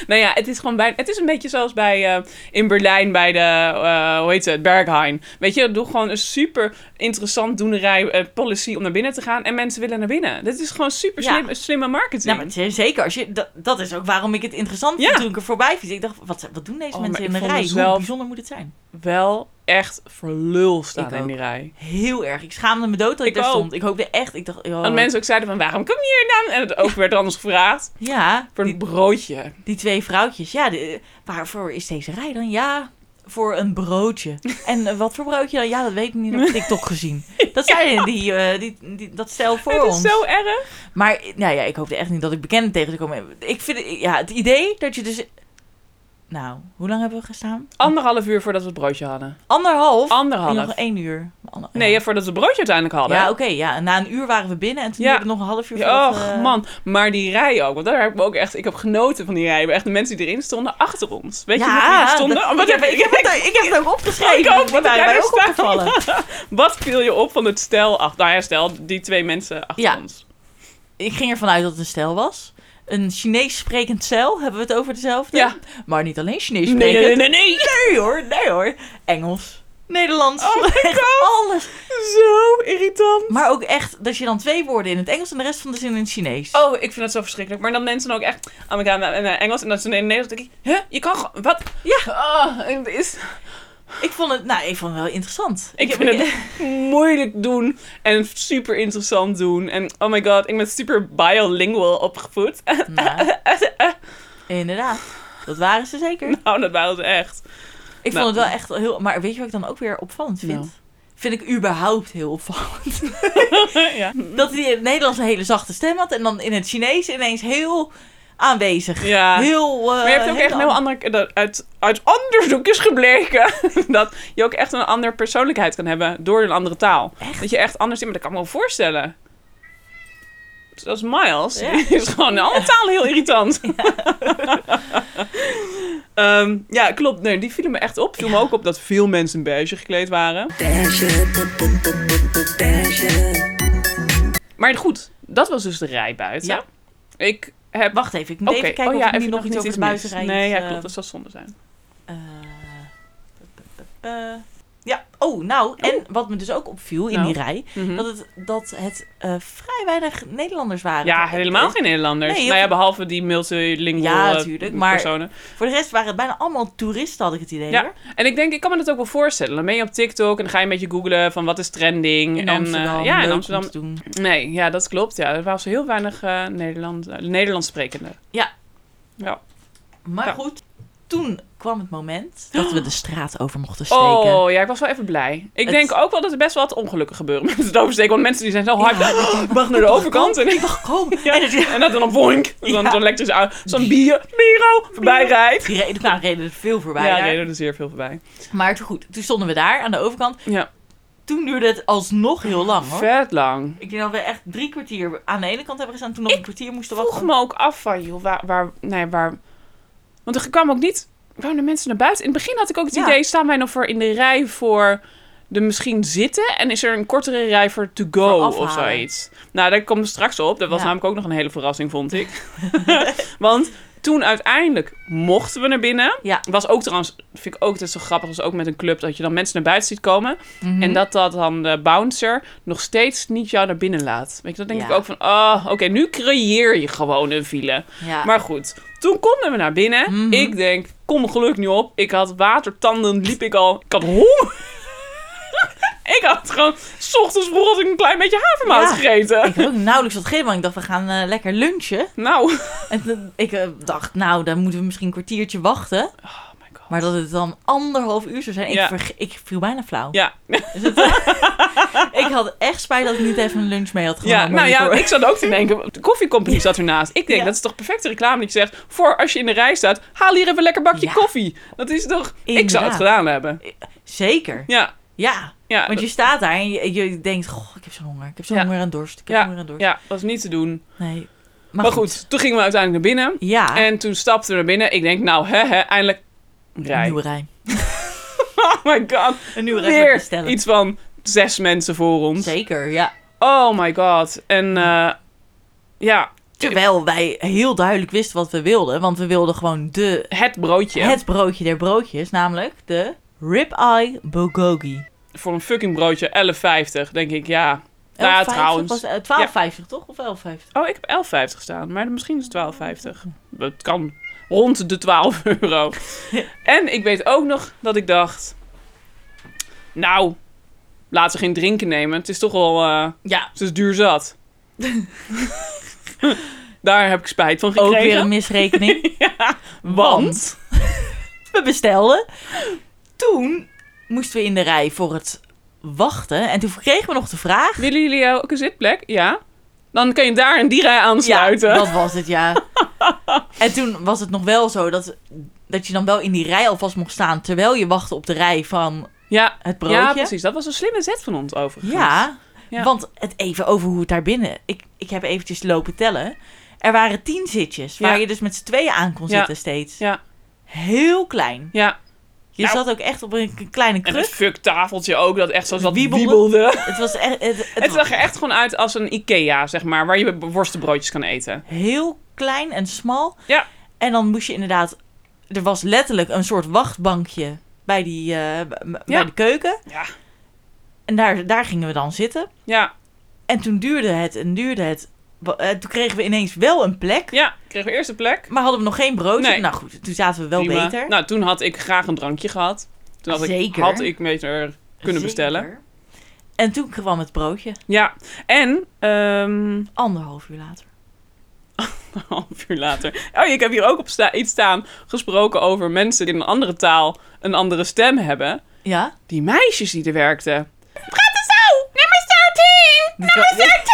Speaker 4: nou ja, het is gewoon bijna... Het is een beetje zoals bij, eh, in Berlijn bij de, eh, hoe heet het, Berghain. Weet je, doe gewoon een super interessant doenerij eh, policy om naar binnen te gaan. En mensen willen naar binnen. Dit is gewoon super
Speaker 3: Ja.
Speaker 4: slim, slimme marketing.
Speaker 3: Nou, maar het is- zeker. Als je, dat, dat is ook waarom ik het interessant
Speaker 4: Ja.
Speaker 3: vond toen ik er voorbij viel. Ik dacht, wat, wat doen deze
Speaker 4: Oh,
Speaker 3: mensen in
Speaker 4: maar ik
Speaker 3: een
Speaker 4: vond
Speaker 3: rij?
Speaker 4: mezelf-
Speaker 3: Hoe bijzonder moet het zijn?
Speaker 4: Wel echt voor lul staan
Speaker 3: Ik
Speaker 4: in
Speaker 3: ook.
Speaker 4: die rij.
Speaker 3: Heel erg. Ik schaamde me dood dat ik,
Speaker 4: Ik
Speaker 3: daar
Speaker 4: ook.
Speaker 3: stond. Ik hoopte echt. Ik dacht, joh.
Speaker 4: Dat mensen ook zeiden van, waarom kom je hier dan? En het ook werd anders gevraagd.
Speaker 3: ja,
Speaker 4: Voor
Speaker 3: die,
Speaker 4: een broodje.
Speaker 3: die twee vrouwtjes. Ja, de- waarvoor is deze rij dan? Ja, voor een broodje. En eh, wat voor broodje dan? Ja, dat weet ik niet. Dat heb ik TikTok gezien. Dat zijn die, eh, die, die- dat stel voor
Speaker 4: Het is
Speaker 3: ons.
Speaker 4: zo erg.
Speaker 3: Maar nou ja, ik hoopte echt niet dat ik bekenden tegen te komen. Ik vind het- ja, het idee dat je dus... Nou, hoe lang hebben we gestaan?
Speaker 4: Anderhalf uur voordat we het broodje hadden.
Speaker 3: Anderhalf.
Speaker 4: Anderhalf.
Speaker 3: Nog één uur. Ander-
Speaker 4: Nee, ja, voordat we het broodje uiteindelijk hadden.
Speaker 3: Ja, oké. ja. En Na een uur waren we binnen en toen
Speaker 4: Ja.
Speaker 3: hebben we nog een half uur
Speaker 4: Ja,
Speaker 3: voordat eh,
Speaker 4: Och
Speaker 3: we-
Speaker 4: man, maar die rij ook. Want daar heb ik me ook echt. Ik heb genoten van die rij. Maar Echt de mensen die erin stonden achter ons. Weet je nog wie er stonden?
Speaker 3: dat-
Speaker 4: Oh, wat,
Speaker 3: ik, heb,
Speaker 4: heb,
Speaker 3: ik, heb het, ik heb het ook opgeschreven.
Speaker 4: Ik ook,
Speaker 3: want die
Speaker 4: want
Speaker 3: waren
Speaker 4: jij
Speaker 3: mij
Speaker 4: bent
Speaker 3: ook
Speaker 4: staan.
Speaker 3: opgevallen.
Speaker 4: wat viel je op van het stel achter? Nou ja, stel die twee mensen achter
Speaker 3: Ja.
Speaker 4: ons.
Speaker 3: Ik ging ervan uit dat het een stel was. Een Chinees sprekend cel, hebben we het over dezelfde?
Speaker 4: Ja.
Speaker 3: Maar niet alleen Chinees
Speaker 4: Nee,
Speaker 3: sprekend.
Speaker 4: nee, nee, nee, nee.
Speaker 3: Nee hoor, nee hoor. Engels, Nederlands,
Speaker 4: Oh my
Speaker 3: echt alles.
Speaker 4: Zo irritant.
Speaker 3: Maar ook echt dat je dan twee woorden in het Engels en de rest van de zin in het Chinees.
Speaker 4: Oh, ik vind dat zo verschrikkelijk. Maar dan mensen ook echt Amerikanen en eh, Engels. En dat ze in het Nederlands denk ik, hè? Je kan gewoon, wat?
Speaker 3: Ja.
Speaker 4: Oh, het is,
Speaker 3: Ik vond het, nou, ik vond het wel interessant.
Speaker 4: Ik vind het moeilijk doen en super interessant doen. En oh my god, ik ben super bilingual opgevoed.
Speaker 3: Nou, inderdaad. Dat waren ze zeker.
Speaker 4: nou, dat waren ze echt.
Speaker 3: Ik
Speaker 4: Nou.
Speaker 3: vond het wel echt heel... Maar weet je wat ik dan ook weer opvallend vind?
Speaker 4: Nou.
Speaker 3: Vind ik überhaupt heel opvallend.
Speaker 4: ja.
Speaker 3: Dat hij in het Nederlands een hele zachte stem had... en dan in het Chinees ineens heel aanwezig.
Speaker 4: ja.
Speaker 3: Heel... eh,
Speaker 4: maar je hebt ook echt een heel andere... dat uit, uit onderzoek is gebleken dat je ook echt een andere persoonlijkheid kan hebben door een andere taal.
Speaker 3: Echt?
Speaker 4: Dat je echt anders in, maar dat kan ik me wel voorstellen. Zoals Miles,
Speaker 3: Ja.
Speaker 4: die is gewoon in alle talen heel irritant. Ja, ja klopt. Nee, die vielen me echt op. Viel me ook op dat veel mensen beige gekleed waren. Maar goed, dat was dus de rij buiten.
Speaker 3: Ja.
Speaker 4: Ik heb... Oh
Speaker 3: Wacht even, ik moet even kijken of er nu
Speaker 4: even
Speaker 3: nog iets over de eh,
Speaker 4: mis.
Speaker 3: buitenrij
Speaker 4: Nee,
Speaker 3: is,
Speaker 4: ja,
Speaker 3: eh,
Speaker 4: klopt. Dat zou zonde zijn.
Speaker 3: eh, eh, Ja, oh, nou, en wat me dus ook opviel in
Speaker 4: Nou.
Speaker 3: die rij,
Speaker 4: Mhm.
Speaker 3: dat het, dat het eh, vrij weinig Nederlanders waren.
Speaker 4: Ja,
Speaker 3: Het-
Speaker 4: helemaal
Speaker 3: het-
Speaker 4: geen Nederlanders.
Speaker 3: Nee, heel
Speaker 4: nou ja,
Speaker 3: veel-
Speaker 4: behalve die multilingual
Speaker 3: Ja,
Speaker 4: eh,
Speaker 3: natuurlijk, maar-
Speaker 4: personen.
Speaker 3: Voor de rest waren het bijna allemaal toeristen, had ik het idee.
Speaker 4: Ja,
Speaker 3: hoor.
Speaker 4: En ik denk, ik kan me dat ook wel voorstellen. Dan ben je op TikTok en dan ga je een beetje googlen van wat is trending.
Speaker 3: In
Speaker 4: en, eh,
Speaker 3: Amsterdam,
Speaker 4: ja,
Speaker 3: leuk
Speaker 4: in
Speaker 3: om
Speaker 4: Amsterdam.
Speaker 3: te doen.
Speaker 4: Nee, ja, dat klopt. Ja, er waren zo heel weinig eh Nederland, eh, Nederlands sprekenden.
Speaker 3: Ja.
Speaker 4: Ja.
Speaker 3: Maar
Speaker 4: Ja.
Speaker 3: goed, toen kwam het moment dat we de straat over mochten steken.
Speaker 4: Oh, ja, ik was wel even blij. Ik
Speaker 3: Het-
Speaker 4: denk ook wel dat er best wel wat ongelukken gebeuren met het oversteken. Want mensen die zijn zo hard,
Speaker 3: Ja. Oh,
Speaker 4: mag naar de overkant. En, ik,
Speaker 3: Kom,
Speaker 4: ja,
Speaker 3: en het,
Speaker 4: en dat dan een boink. En Dan
Speaker 3: Ja.
Speaker 4: zo'n elektrische auto, zo'n bier, biro, voorbij rijdt.
Speaker 3: die reden, nou, reden er veel voorbij.
Speaker 4: Ja,
Speaker 3: daar.
Speaker 4: reden er zeer veel voorbij.
Speaker 3: Maar toen goed, toen stonden we daar aan de overkant.
Speaker 4: Ja,
Speaker 3: Toen duurde het alsnog heel lang hoor.
Speaker 4: vet lang.
Speaker 3: Ik denk dat we echt drie kwartier aan de ene kant hebben gestaan, toen nog een kwartier moesten
Speaker 4: vroeg
Speaker 3: wachten.
Speaker 4: me ook af van, joh, waar, waar, nee, waar... Want er kwam ook niet... Waarom de mensen naar buiten? In het begin had ik ook het
Speaker 3: Ja.
Speaker 4: idee, staan wij nog voor in de rij voor de misschien zitten? En is er een kortere rij voor to
Speaker 3: Voor
Speaker 4: go
Speaker 3: afhalen.
Speaker 4: of zoiets? Nou, daar komt straks op. Dat was
Speaker 3: Ja.
Speaker 4: namelijk ook nog een hele verrassing, vond ik. Want toen uiteindelijk mochten we naar binnen.
Speaker 3: Ja.
Speaker 4: Was ook trouwens, vind ik ook altijd zo grappig, was ook met een club, dat je dan mensen naar buiten ziet komen.
Speaker 3: Mhm.
Speaker 4: En dat dat dan de bouncer nog steeds niet jou naar binnen laat. Weet je, dan denk
Speaker 3: Ja.
Speaker 4: ik ook van, ah, oké, nu creëer je gewoon een file.
Speaker 3: Ja.
Speaker 4: Maar goed, toen konden we naar binnen.
Speaker 3: Ah. Mhm.
Speaker 4: Ik denk, kom mijn geluk niet op. Ik had watertanden, liep ik al. Ik had honger. ik had gewoon, s ochtends vroeg had ik een klein beetje havermout
Speaker 3: Ja.
Speaker 4: gegeten.
Speaker 3: Ik had ook nauwelijks wat gegeven, want ik dacht, we gaan eh, lekker lunchen.
Speaker 4: Nou,
Speaker 3: En toen- ik eh, dacht, nou, dan moeten we misschien een kwartiertje wachten.
Speaker 4: oh my god.
Speaker 3: Maar dat het dan anderhalf uur zou zijn, ik,
Speaker 4: Ja.
Speaker 3: verge- ik viel bijna flauw.
Speaker 4: Ja,
Speaker 3: Dus het, eh, ik had echt spijt dat ik niet even een lunch mee had genomen.
Speaker 4: ja nou ja,
Speaker 3: hiervoor.
Speaker 4: ik zat ook te denken, de koffiecompany zat ernaast. Ik denk,
Speaker 3: Ja.
Speaker 4: dat is toch perfecte reclame dat je zegt, voor als je in de rij staat, haal hier even een lekker bakje
Speaker 3: Ja.
Speaker 4: koffie. Dat is toch, ik zou
Speaker 3: Inderdaad.
Speaker 4: het gedaan hebben.
Speaker 3: Zeker,
Speaker 4: Ja,
Speaker 3: ja.
Speaker 4: ja.
Speaker 3: Want je staat daar en je, je denkt, goh, ik heb zo'n honger. Ik heb zo'n
Speaker 4: Ja.
Speaker 3: honger en dorst. Ik heb
Speaker 4: Ja.
Speaker 3: honger en dorst.
Speaker 4: Ja, was niet te doen.
Speaker 3: Nee.
Speaker 4: Maar, goed. toen gingen we uiteindelijk naar binnen.
Speaker 3: Ja,
Speaker 4: En toen stapten we naar binnen. Ik denk, nou, hè, hè, eindelijk
Speaker 3: een
Speaker 4: rij.
Speaker 3: nieuwe rij.
Speaker 4: Oh my god.
Speaker 3: Een nieuwe rij voor
Speaker 4: Weer
Speaker 3: bestellen.
Speaker 4: iets van zes mensen voor ons.
Speaker 3: Zeker, ja.
Speaker 4: Oh my god. En eh, ja,
Speaker 3: Terwijl wij heel duidelijk wisten wat we wilden. Want we wilden gewoon de,
Speaker 4: het broodje.
Speaker 3: het broodje der broodjes. Namelijk de ribeye bulgogi.
Speaker 4: Voor een fucking broodje 11,50. Denk ik, ja. Nou,
Speaker 3: 11,50
Speaker 4: trouwens.
Speaker 3: was- e- eh, 12,50 toch? Of 11,50?
Speaker 4: Oh, ik heb 11,50 staan. Maar misschien is het 12,50. Het kan rond de 12 euro. en ik weet ook nog dat ik dacht... Nou, laten we geen drinken nemen. Het is toch wel... eh,
Speaker 3: Ja.
Speaker 4: Het is duur zat. Daar heb ik spijt van
Speaker 3: Ook
Speaker 4: gekregen.
Speaker 3: weer een misrekening.
Speaker 4: ja, want...
Speaker 3: we bestelden. Toen moesten we in de rij voor het wachten. En toen kregen we nog de vraag.
Speaker 4: Willen jullie ook een zitplek? Ja. Dan kun je daar en die rij aansluiten.
Speaker 3: Ja, dat was het, ja. en toen was het nog wel zo dat, dat je dan wel in die rij alvast mocht staan... terwijl je wachtte op de rij van
Speaker 4: ja.
Speaker 3: het broodje.
Speaker 4: ja, precies. Dat was een slimme zet van ons overigens.
Speaker 3: Ja,
Speaker 4: Ja.
Speaker 3: want het even over hoe het daar binnen... Ik, ik heb eventjes lopen tellen. Er waren tien zitjes waar
Speaker 4: Ja.
Speaker 3: je dus met z'n tweeën aan kon
Speaker 4: Ja.
Speaker 3: zitten steeds.
Speaker 4: Ja.
Speaker 3: Heel klein.
Speaker 4: Ja.
Speaker 3: Je
Speaker 4: Nou.
Speaker 3: zat ook echt op een k- kleine
Speaker 4: En een
Speaker 3: kruk.
Speaker 4: fuck tafeltje ook, dat echt zo zat
Speaker 3: Wiebelde.
Speaker 4: wiebelde.
Speaker 3: Het was echt... Het, het
Speaker 4: Het
Speaker 3: was
Speaker 4: zag er echt gewoon uit als een Ikea, zeg maar. Waar je worstenbroodjes kan eten.
Speaker 3: heel klein en smal.
Speaker 4: Ja.
Speaker 3: En dan moest je inderdaad... Er was letterlijk een soort wachtbankje bij, die, eh, b- bij
Speaker 4: Ja.
Speaker 3: de keuken.
Speaker 4: Ja.
Speaker 3: En daar, daar gingen we dan zitten.
Speaker 4: Ja.
Speaker 3: En toen duurde het en duurde het. Wa- eh, Toen kregen we ineens wel een plek.
Speaker 4: Ja. Kregen we eerst een plek.
Speaker 3: Maar hadden we nog geen broodje.
Speaker 4: Nee.
Speaker 3: Nou goed, toen zaten we wel
Speaker 4: Prima.
Speaker 3: beter.
Speaker 4: Nou, toen had ik graag een drankje gehad. Toen had ik,
Speaker 3: Zeker.
Speaker 4: had ik beter kunnen
Speaker 3: Zeker.
Speaker 4: bestellen.
Speaker 3: En toen kwam het broodje.
Speaker 4: Ja, en ehm,
Speaker 3: Anderhalf uur later.
Speaker 4: een half uur later. Oh, ik heb hier ook op sta iets staan gesproken over mensen die in een andere taal een andere stem hebben.
Speaker 3: Ja?
Speaker 4: Die meisjes die er werkten. Praat er zo! Nummer 13!
Speaker 3: Nummer
Speaker 4: 13!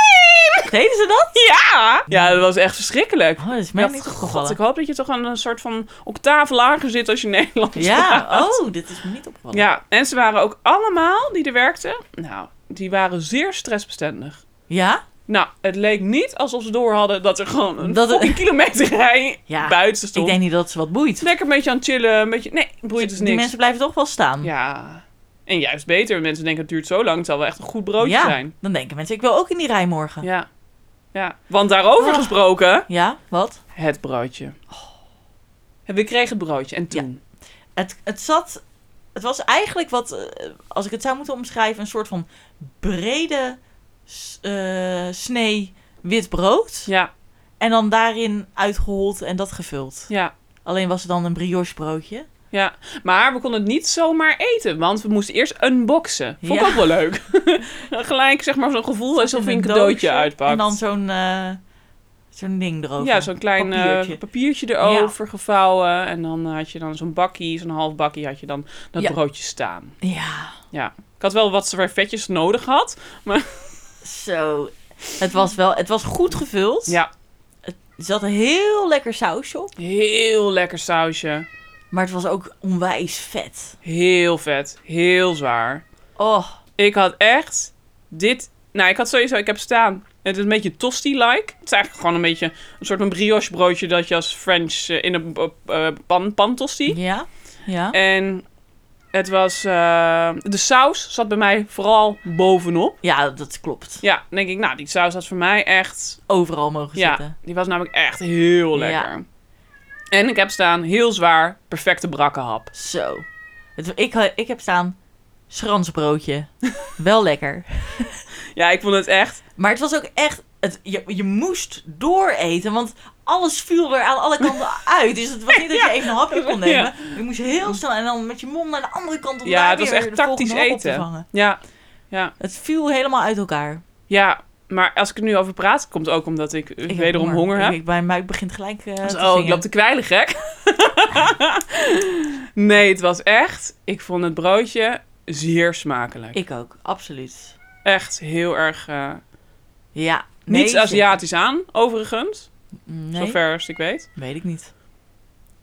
Speaker 3: Deden ze dat?
Speaker 4: Ja! Ja, dat was echt verschrikkelijk.
Speaker 3: Oh, dat is
Speaker 4: Ik
Speaker 3: mij
Speaker 4: dacht,
Speaker 3: niet
Speaker 4: God, ik
Speaker 3: opgevallen.
Speaker 4: hoop dat je toch aan een soort van octaaf lager zit als je Nederlands praat.
Speaker 3: Ja, oh, dit is me niet opgevallen.
Speaker 4: Ja, en ze waren ook allemaal die er werkten. Nou, die waren zeer stressbestendig.
Speaker 3: Ja?
Speaker 4: Nou, het leek niet alsof ze door hadden dat er gewoon een
Speaker 3: Dat het-
Speaker 4: fucking kilometer rij
Speaker 3: Ja,
Speaker 4: buiten stond.
Speaker 3: Ik denk niet dat ze wat boeit.
Speaker 4: Lekker een beetje aan het chillen, een beetje... Nee, boeit dus
Speaker 3: Die
Speaker 4: niks.
Speaker 3: mensen blijven toch wel staan.
Speaker 4: Ja, en juist beter. Mensen denken het duurt zo lang, het zal wel echt een goed broodje
Speaker 3: Ja,
Speaker 4: zijn.
Speaker 3: Dan denken mensen, ik wil ook in die rij morgen. Ja,
Speaker 4: Ja, ja. Want daarover
Speaker 3: Ah.
Speaker 4: gesproken,
Speaker 3: wat?
Speaker 4: het
Speaker 3: Oh.
Speaker 4: broodje. We kregen het broodje en toen...
Speaker 3: Het, het zat Het was eigenlijk wat, eh, als ik het zou moeten omschrijven, een soort van brede s- eh, snee wit brood.
Speaker 4: Ja,
Speaker 3: En dan daarin uitgehold en dat gevuld.
Speaker 4: ja,
Speaker 3: Alleen was het dan een brioche broodje.
Speaker 4: ja. Maar we konden het niet zomaar eten, want we moesten eerst unboxen. Vond ik
Speaker 3: Ja.
Speaker 4: ook wel leuk. Gelijk zeg maar zo'n gevoel alsof je een cadeautje
Speaker 3: doosje
Speaker 4: uitpakt.
Speaker 3: En dan zo'n eh, zo'n ding erover.
Speaker 4: Ja, zo'n klein eh, papiertje,
Speaker 3: papiertje.
Speaker 4: erover gevouwen. En dan had je dan zo'n bakkie, zo'n half bakkie had je dan dat
Speaker 3: Ja.
Speaker 4: broodje staan.
Speaker 3: Ja,
Speaker 4: Ik had wel wat servetjes nodig had.
Speaker 3: zo. Het was wel, het was goed gevuld.
Speaker 4: Ja,
Speaker 3: Er zat een heel lekker sausje op.
Speaker 4: heel lekker sausje.
Speaker 3: Maar het was ook onwijs vet.
Speaker 4: Heel vet, heel zwaar.
Speaker 3: Oh,
Speaker 4: Ik had echt dit... Nou, ik had sowieso, ik heb staan. Het is een beetje tosti-like. Het is eigenlijk gewoon een beetje een soort van brioche broodje dat je als French eh, in een eh, pan, pan tosti.
Speaker 3: ja. Ja.
Speaker 4: En het was... eh, de saus zat bij mij vooral bovenop.
Speaker 3: Ja, dat klopt.
Speaker 4: Ja, dan denk ik, nou, die saus had voor mij echt...
Speaker 3: Overal mogen
Speaker 4: Ja,
Speaker 3: zitten.
Speaker 4: die was namelijk echt heel lekker. En ik heb staan, heel zwaar, perfecte brakke hap.
Speaker 3: Zo. Het, ik, eh, ik heb staan schransbroodje. wel lekker.
Speaker 4: Ja, ik vond het echt...
Speaker 3: Maar het was ook echt... Het, je, je moest dooreten, want alles viel er aan alle kanten uit. Dus het was niet dat je even een hapje kon nemen. Je moest heel snel en dan met je mond naar de andere kant... om
Speaker 4: Ja,
Speaker 3: daar
Speaker 4: het was
Speaker 3: weer
Speaker 4: echt
Speaker 3: de volgende
Speaker 4: tactisch
Speaker 3: hap op te
Speaker 4: eten.
Speaker 3: vangen.
Speaker 4: Ja, ja,
Speaker 3: Het viel helemaal uit elkaar.
Speaker 4: ja. Maar als ik er nu over praat, komt ook omdat ik, eh,
Speaker 3: Ik heb
Speaker 4: wederom honger, heb.
Speaker 3: Ik, ik, bij mij begint gelijk eh, te
Speaker 4: Dus, oh, ik
Speaker 3: zingen.
Speaker 4: loop te kwijlen, gek. nee, het was echt... Ik vond het broodje zeer smakelijk.
Speaker 3: Ik ook, absoluut.
Speaker 4: Echt heel erg... eh,
Speaker 3: Ja.
Speaker 4: niets Aziatisch aan, overigens.
Speaker 3: Nee,
Speaker 4: Zover als ik weet.
Speaker 3: weet ik niet.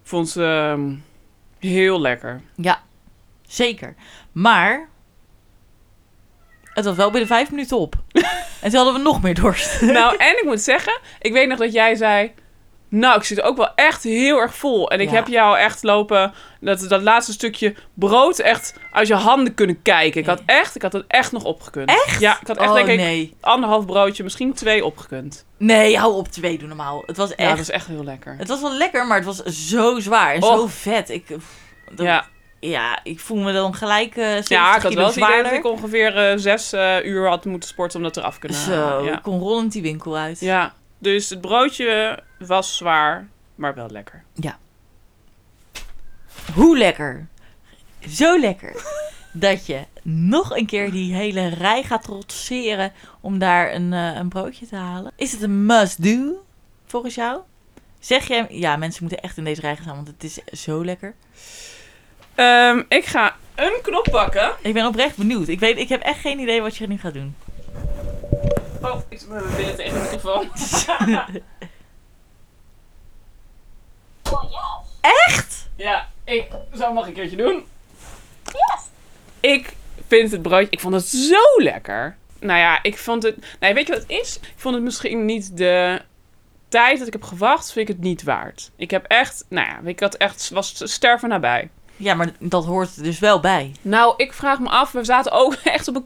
Speaker 4: Vond ze ehm, heel lekker.
Speaker 3: Ja, zeker. Maar het was wel binnen vijf minuten op. en toen hadden we nog meer dorst.
Speaker 4: Nou, en ik moet zeggen, ik weet nog dat jij zei... Nou, ik zit ook wel echt heel erg vol. En ik
Speaker 3: Ja.
Speaker 4: heb jou echt lopen... Dat, dat laatste stukje brood echt uit je handen kunnen kijken. Ik had echt... Ik had het echt nog opgekund. Echt? Ja, ik had echt
Speaker 3: oh
Speaker 4: denk ik
Speaker 3: nee.
Speaker 4: anderhalf broodje, misschien twee opgekund.
Speaker 3: Nee, hou op twee, doe normaal. Het was
Speaker 4: Ja,
Speaker 3: echt...
Speaker 4: dat is echt heel lekker.
Speaker 3: Het was wel lekker, maar het was zo zwaar en zo
Speaker 4: Och.
Speaker 3: vet. Ik, eh, pff, dat-
Speaker 4: Ja,
Speaker 3: ja, ik voel me dan gelijk eh 70
Speaker 4: ja ik had
Speaker 3: kilo
Speaker 4: wel het idee dat
Speaker 3: zwaarder.
Speaker 4: ik ongeveer eh, zes eh, uur had moeten sporten om dat eraf te kunnen
Speaker 3: Zo,
Speaker 4: halen.
Speaker 3: ik
Speaker 4: Ja.
Speaker 3: kon rollend die winkel uit.
Speaker 4: ja, dus het broodje was zwaar, maar wel lekker.
Speaker 3: Hoe lekker. Zo lekker. dat je nog een keer die hele rij gaat trotseren om daar een, eh, een broodje te halen. Is het een must-do volgens jou? Zeg je, ja, mensen moeten echt in deze rij gaan staan, want het is zo lekker.
Speaker 4: Ehm, ik ga een knop pakken.
Speaker 3: Ik ben oprecht benieuwd. Ik, weet, ik heb echt geen idee wat je nu gaat doen.
Speaker 4: Oh, ik zit met mijn billen tegen de microfoon.
Speaker 3: Echt?
Speaker 4: Ja, ik zou nog een keertje doen. Ik vind het broodje, ik vond het zo lekker. Nou ja, ik vond het, nee, weet je wat het is? Ik vond het misschien niet de tijd dat ik heb gewacht, vind ik het niet waard. Ik heb echt, nou ja, ik had echt, was sterven nabij.
Speaker 3: Ja, maar dat hoort er dus wel bij.
Speaker 4: Nou, ik vraag me af, we zaten ook echt op een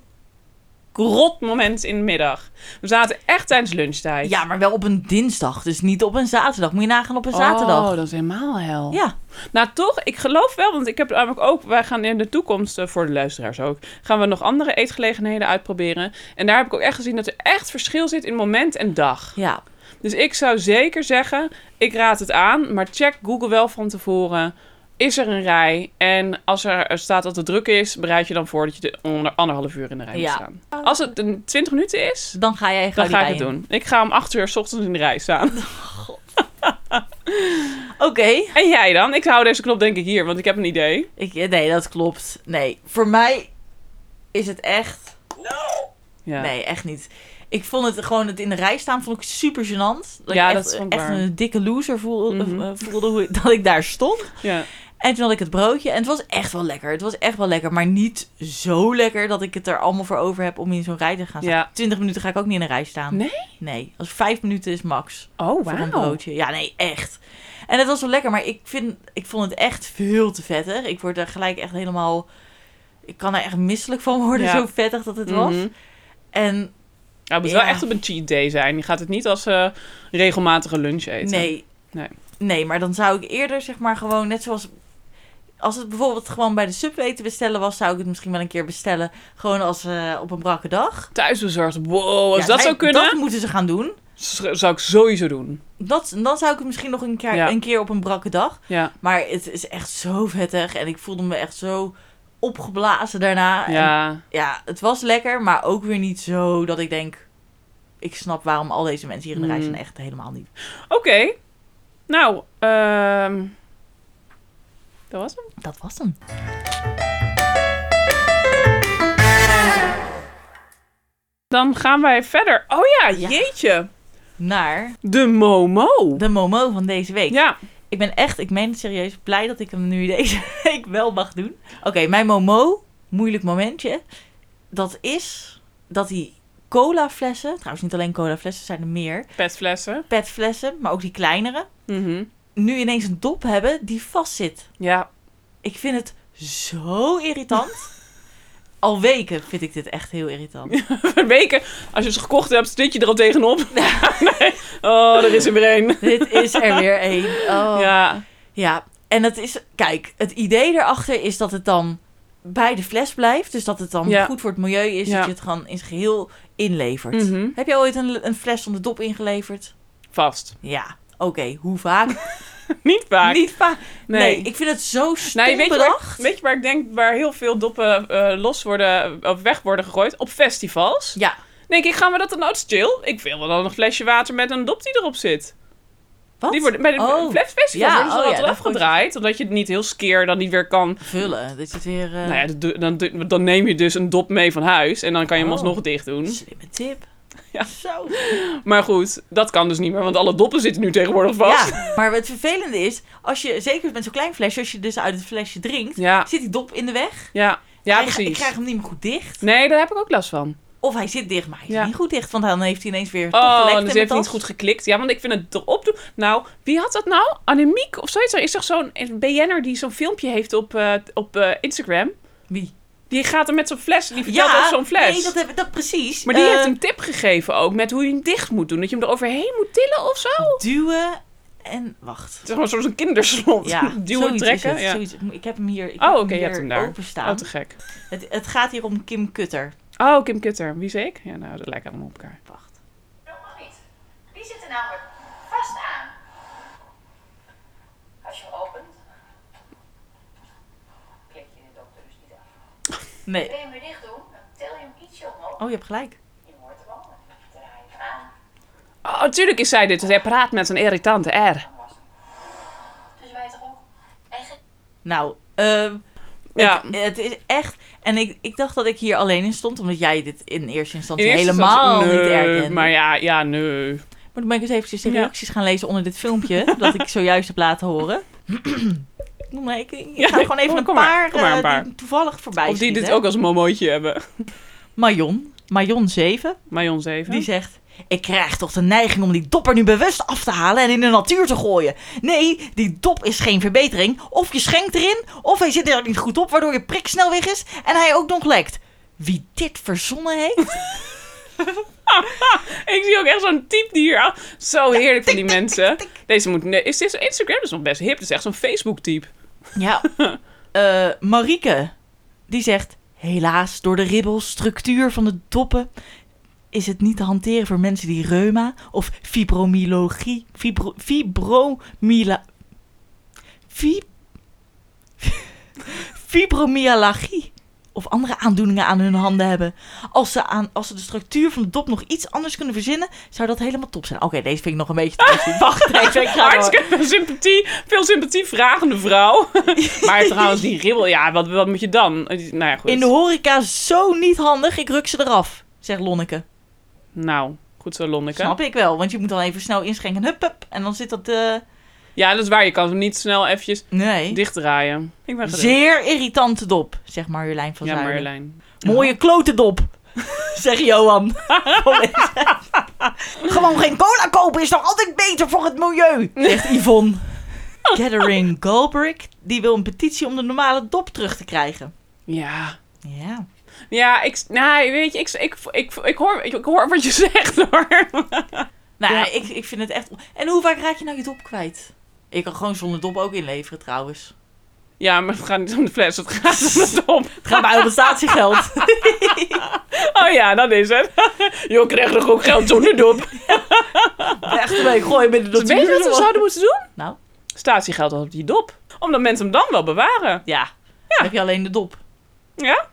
Speaker 4: rot moment in de middag. We zaten echt tijdens lunchtijd.
Speaker 3: Ja, maar wel op een dinsdag, dus niet op een zaterdag. Moet je nagaan op een zaterdag.
Speaker 4: Oh, dat is helemaal hel.
Speaker 3: Ja,
Speaker 4: Nou, toch, ik geloof wel, want ik heb namelijk ook, wij gaan in de toekomst, eh, voor de luisteraars ook, gaan we nog andere eetgelegenheden uitproberen. En daar heb ik ook echt gezien dat er echt verschil zit in moment en dag.
Speaker 3: ja.
Speaker 4: Dus ik zou zeker zeggen, ik raad het aan, maar check Google wel van tevoren. Is er een rij? En als er eh, staat dat het druk is, bereid je dan voor dat je de onder anderhalf uur in de rij
Speaker 3: Ja.
Speaker 4: moet staan. Als het een 20 minuten is,
Speaker 3: Dus Dan ga jij
Speaker 4: dan
Speaker 3: die
Speaker 4: ga ik
Speaker 3: rij
Speaker 4: het
Speaker 3: in.
Speaker 4: doen. Ik ga om 8 uur 's ochtends in de rij staan.
Speaker 3: Oké.
Speaker 4: En jij dan? Ik hou deze knop denk ik hier, want ik heb een idee.
Speaker 3: Ik, eh, nee, dat klopt. Nee, voor mij is het echt...
Speaker 4: Ja.
Speaker 3: Nee, echt niet. Ik vond het gewoon, het in de rij staan vond ik super gênant. Dat
Speaker 4: Ja,
Speaker 3: ik
Speaker 4: dat
Speaker 3: echt,
Speaker 4: is ook
Speaker 3: echt
Speaker 4: waar.
Speaker 3: een dikke loser voelde,
Speaker 4: Mhm.
Speaker 3: eh, voelde hoe, dat ik daar stond.
Speaker 4: Ja.
Speaker 3: En toen had ik het broodje en het was echt wel lekker. Het was echt wel lekker, maar niet zo lekker dat ik het er allemaal voor over heb om in zo'n rij te gaan staan.
Speaker 4: Ja.
Speaker 3: 20 minuten ga ik ook niet in een rij staan.
Speaker 4: Nee?
Speaker 3: Nee, als vijf minuten is max
Speaker 4: Oh,
Speaker 3: voor een
Speaker 4: wauw.
Speaker 3: broodje. Ja, nee, echt. En het was wel lekker, maar ik, vind, ik vond het echt veel te vettig. Ik word er gelijk echt helemaal... Ik kan er echt misselijk van worden,
Speaker 4: Ja.
Speaker 3: zo vettig dat het was.
Speaker 4: Mhm.
Speaker 3: En
Speaker 4: Ja, het moet
Speaker 3: Ja.
Speaker 4: wel echt op een cheat day zijn. Je gaat het niet als eh, regelmatige lunch eten.
Speaker 3: nee,
Speaker 4: Nee.
Speaker 3: nee, maar dan zou ik eerder zeg maar gewoon net zoals... Als het bijvoorbeeld gewoon bij de Subway te bestellen was, zou ik het misschien wel een keer bestellen. Gewoon als eh, op een brakke dag.
Speaker 4: Thuisbezorgd. Wow, Oh, als
Speaker 3: Ja,
Speaker 4: dat
Speaker 3: wij-
Speaker 4: zou kunnen,
Speaker 3: Dat moeten ze gaan doen.
Speaker 4: z- zou ik sowieso doen.
Speaker 3: Dat, dan zou ik het misschien nog een keer,
Speaker 4: Ja.
Speaker 3: een keer op een brakke dag.
Speaker 4: Ja.
Speaker 3: Maar het is echt zo vettig. En ik voelde me echt zo opgeblazen daarna. Ah, En
Speaker 4: Ja.
Speaker 3: ja, het was lekker, maar ook weer niet zo dat ik denk... Ik snap waarom al deze mensen hier in de rij
Speaker 4: Mm.
Speaker 3: zijn echt helemaal niet.
Speaker 4: Oké. Nou, ehm dat was hem.
Speaker 3: Dat was hem.
Speaker 4: Dan gaan wij verder. Oh ja, jeetje.
Speaker 3: Naar
Speaker 4: De Momo.
Speaker 3: de Momo van deze week.
Speaker 4: Ja.
Speaker 3: Ik ben echt, ik meen het serieus, blij dat ik hem nu deze week wel mag doen. Oké, mijn Momo, moeilijk momentje. Dat is dat die colaflessen, trouwens niet alleen colaflessen, zijn er meer.
Speaker 4: Petflessen.
Speaker 3: Petflessen, maar ook die kleinere.
Speaker 4: Mhm.
Speaker 3: Nu ineens een dop hebben die vastzit.
Speaker 4: Ja.
Speaker 3: Ik vind het zo irritant. Al weken vind ik dit echt heel irritant.
Speaker 4: Weken. Als je ze gekocht hebt, zit je er al tegenop. nee. Oh, er is er weer een.
Speaker 3: dit is er weer één. Oh.
Speaker 4: Ja.
Speaker 3: Ja, en het is, kijk, het idee erachter is dat het dan bij de fles blijft. Dus dat het dan
Speaker 4: Ja.
Speaker 3: goed voor het milieu is.
Speaker 4: Ja.
Speaker 3: Dat je het gewoon in zijn geheel inlevert.
Speaker 4: Mhm.
Speaker 3: Heb je ooit een, een fles zonder dop ingeleverd?
Speaker 4: Vast.
Speaker 3: Ja. Oké, hoe vaak?
Speaker 4: Niet vaak.
Speaker 3: Niet vaak. Nee.
Speaker 4: Nee.
Speaker 3: ik vind het zo stom
Speaker 4: Nee, weet je, waar,
Speaker 3: bedacht.
Speaker 4: weet je waar ik denk waar heel veel doppen eh, los worden of weg worden gegooid? Op festivals.
Speaker 3: Ja,
Speaker 4: Denk ik, gaan we dat dan ook chill? Ik wil wel dan een flesje water met een dop die erop zit.
Speaker 3: wat?
Speaker 4: Die worden bij de
Speaker 3: Oh,
Speaker 4: fles festivals
Speaker 3: Ja,
Speaker 4: worden ze
Speaker 3: oh
Speaker 4: dan
Speaker 3: ja,
Speaker 4: altijd
Speaker 3: dat wordt-
Speaker 4: afgedraaid, omdat je het niet heel skeer dan niet weer kan.
Speaker 3: vullen. Dit zit weer... eh,
Speaker 4: Nou ja, dat doe- dan, doe- dan neem je dus een dop mee van huis en dan kan je hem
Speaker 3: Oh.
Speaker 4: alsnog dicht doen.
Speaker 3: Slimme tip.
Speaker 4: Ja.
Speaker 3: Zo.
Speaker 4: Maar goed, dat kan dus niet meer, want alle doppen zitten nu tegenwoordig vast.
Speaker 3: Ja, maar het vervelende is, als je, zeker met zo'n klein flesje, als je dus uit het flesje drinkt,
Speaker 4: Ja,
Speaker 3: zit die dop in de weg.
Speaker 4: ja, ja,
Speaker 3: Hij- Ik
Speaker 4: precies.
Speaker 3: krijg hem niet meer goed dicht.
Speaker 4: Nee, daar heb ik ook last van.
Speaker 3: Of hij zit dicht, maar hij is
Speaker 4: Ja.
Speaker 3: niet goed dicht. Want dan heeft hij ineens weer toch
Speaker 4: Oh,
Speaker 3: gelekt
Speaker 4: dus
Speaker 3: in
Speaker 4: heeft
Speaker 3: de
Speaker 4: niet
Speaker 3: tas.
Speaker 4: goed geklikt. Ja, want ik vind het erop doen. Nou, wie had dat nou? Annemiek of zoiets? Er is toch zo'n BN'er die zo'n filmpje heeft op, eh, op eh, Instagram?
Speaker 3: Wie?
Speaker 4: Die gaat er met zo'n fles. Die vertelt over zo'n fles.
Speaker 3: Nee, dat, heb, ik- dat precies.
Speaker 4: Maar die
Speaker 3: Eh,
Speaker 4: heeft een tip gegeven ook met hoe je hem dicht moet doen. Dat je hem er overheen moet tillen of zo. Het
Speaker 3: Duwen en... Wacht.
Speaker 4: is gewoon zoals een kinderslot.
Speaker 3: Ja,
Speaker 4: Duwen,
Speaker 3: zoiets
Speaker 4: trekken.
Speaker 3: Is het,
Speaker 4: ja.
Speaker 3: zoiets. Ik heb hem hier, ik
Speaker 4: Oh,
Speaker 3: heb
Speaker 4: oké,
Speaker 3: hem
Speaker 4: je hebt
Speaker 3: hier
Speaker 4: hem daar.
Speaker 3: openstaan.
Speaker 4: Oh, te gek.
Speaker 3: het, het gaat hier om Kim Kutter.
Speaker 4: Oh, Kim Kutter. Wie zei ik? Ja, nou, dat lijkt allemaal op elkaar.
Speaker 3: Wacht.
Speaker 5: Dat mag niet. Die zitten namelijk vast aan. Als je hem opent, klik je de dokter dus niet af.
Speaker 3: Nee.
Speaker 5: Wil je hem weer dicht doen, dan tel je hem ietsje omhoog.
Speaker 3: Oh, je hebt gelijk.
Speaker 5: Je hoort hem al, dan draai je hem aan.
Speaker 4: Oh, natuurlijk is zij dit. Dus hij praat met een irritante R.
Speaker 5: Dan was het. Dus wij toch ook? Eigen
Speaker 3: Nou, ehm,
Speaker 4: Ja.
Speaker 3: het is echt... En ik, ik dacht dat ik hier alleen in stond, omdat jij dit in eerste instantie
Speaker 4: In eerste
Speaker 3: helemaal
Speaker 4: instantie-
Speaker 3: niet
Speaker 4: nee,
Speaker 3: herkende.
Speaker 4: Maar ja, ja, nee.
Speaker 3: Maar toen ben ik eens eventjes de
Speaker 4: Ja.
Speaker 3: reacties gaan lezen onder dit filmpje. dat ik zojuist heb laten horen. Noem maar, ik, ik
Speaker 4: Ja,
Speaker 3: ga gewoon even
Speaker 4: kom-
Speaker 3: een,
Speaker 4: kom maar,
Speaker 3: paar,
Speaker 4: kom maar een
Speaker 3: eh,
Speaker 4: paar.
Speaker 3: die toevallig voorbij
Speaker 4: Of die dit
Speaker 3: schieten.
Speaker 4: ook als een momootje hebben.
Speaker 3: Marion, Marion 7,
Speaker 4: Marion 7.
Speaker 3: die zegt... Ik krijg toch de neiging om die dop er nu bewust af te halen en in de natuur te gooien. Nee, die dop is geen verbetering. Of je schenkt erin, of hij zit er niet goed op, waardoor je prik snel weg is en hij ook nog lekt. Wie dit verzonnen heeft?
Speaker 4: Ik zie ook echt zo'n type die hier... aan- Zo heerlijk van die mensen. Deze moet... Nee, is dit zo- Instagram is nog best hip. Dit is echt zo'n Facebook-type.
Speaker 3: Ja. Eh, Marieke, die zegt... Helaas, door de ribbelstructuur van de doppen... is het niet te hanteren voor mensen die reuma of fibromyalgie... Fibro, fibromyla... Fi, fibromyalgie of andere aandoeningen aan hun handen hebben. Als ze, aan, als ze de structuur van de dop nog iets anders kunnen verzinnen... zou dat helemaal top zijn. Oké, deze vind ik nog een beetje... te missie. Wacht even, ik ga door.
Speaker 4: Hartstikke veel sympathie, veel sympathie vragende vrouw. maar trouwens, die ribbel, ja, wat, wat moet je dan? Nou ja, goed.
Speaker 3: In de horeca zo niet handig, ik ruk ze eraf, zegt Lonneke.
Speaker 4: Nou, goed zo, Lonneke.
Speaker 3: Snap ik wel, want je moet dan even snel inschenken. Hup, hup, en dan zit dat... eh,
Speaker 4: Ja, dat is waar. Je kan hem niet snel eventjes
Speaker 3: Nee.
Speaker 4: dichtdraaien. Ik ben gedaan.
Speaker 3: Zeer irritante dop, zegt Marjolein van
Speaker 4: Ja,
Speaker 3: Zuilen.
Speaker 4: Marjolein.
Speaker 3: Mooie klotendop, zegt Johan. Gewoon geen cola kopen is toch altijd beter voor het milieu, zegt Yvonne. Gathering Galbrick, die wil een petitie om de normale dop terug te krijgen.
Speaker 4: Ja.
Speaker 3: Ja.
Speaker 4: Ja, ik, nou, weet je, ik, ik, ik, ik, hoor, ik, ik hoor wat je zegt hoor.
Speaker 3: Nou,
Speaker 4: Ja.
Speaker 3: ik, ik vind het echt... En hoe vaak raak je nou je dop kwijt? Ik kan gewoon zonder dop ook inleveren trouwens.
Speaker 4: Ja, maar het gaat niet om de fles, het gaat om de dom.
Speaker 3: Het gaat mij om het statiegeld.
Speaker 4: Oh ja, dat is het. Joh, krijg toch ook geld zonder dop.
Speaker 3: Echt ermee gooien met de
Speaker 4: Weet je wat we zouden moeten doen?
Speaker 3: Nou,
Speaker 4: Statiegeld op die dop. Omdat mensen hem dan wel bewaren.
Speaker 3: ja. Dan heb je alleen de dop.
Speaker 4: Ja?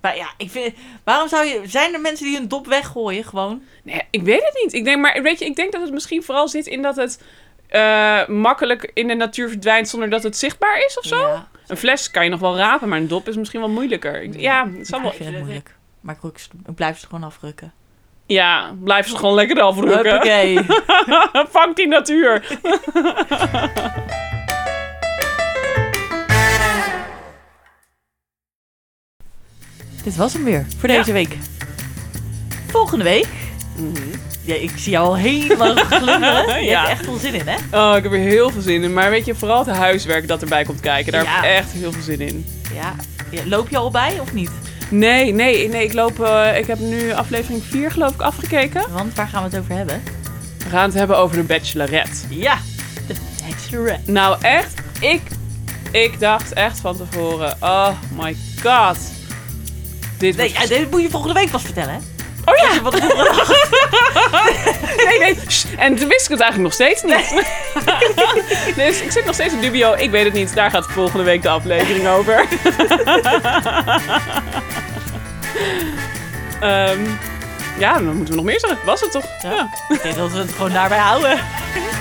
Speaker 3: Maar ja, ik vind... Waarom zou je... Zijn er mensen die hun dop weggooien gewoon?
Speaker 4: Nee, ik weet het niet. Ik denk, maar weet je, ik denk dat het misschien vooral zit in dat het eh, makkelijk in de natuur verdwijnt zonder dat het zichtbaar is of zo.
Speaker 3: Ja.
Speaker 4: Een fles kan je nog wel rapen, maar een dop is misschien wel moeilijker. Ik- ja, het zal
Speaker 3: Ik
Speaker 4: wel...
Speaker 3: vind het moeilijk. Maar ik, ruk ze- ik blijf ze gewoon afrukken.
Speaker 4: Ja, blijf ze gewoon lekker afrukken.
Speaker 3: Oké.
Speaker 4: Vang die natuur.
Speaker 3: Dit was hem weer voor deze week. Volgende week. Ja, ik zie jou al helemaal glunderen. Je
Speaker 4: Mhm. Ja.
Speaker 3: hebt er echt veel zin in, hè?
Speaker 4: Oh, ik heb er heel veel zin in. Maar weet je, vooral het huiswerk dat erbij komt kijken. Daar
Speaker 3: Ja.
Speaker 4: heb ik echt heel veel zin in.
Speaker 3: Ja. Ja, Loop je al bij of niet?
Speaker 4: Nee, nee, nee. Ik, loop, eh, ik heb nu aflevering 4 geloof ik afgekeken.
Speaker 3: Want waar gaan we het over hebben?
Speaker 4: We gaan het hebben over de bachelorette.
Speaker 3: Ja, de Bachelorette.
Speaker 4: Nou echt, ik, ik dacht echt van tevoren. Oh my god. Dit
Speaker 3: Nee,
Speaker 4: was...
Speaker 3: ja, dit moet je volgende week pas vertellen, hè?
Speaker 4: Oh ja,
Speaker 3: Wat ik vorige dag-
Speaker 4: nee, nee. Sst. En toen wist ik het eigenlijk nog steeds niet. dus ik zit nog steeds in dubio. Ik weet het niet. Daar gaat volgende week de aflevering over. Ehm, ja, dan moeten we nog meer zeggen. Was het toch?
Speaker 3: Ja. Ik denk dat we het gewoon daarbij houden.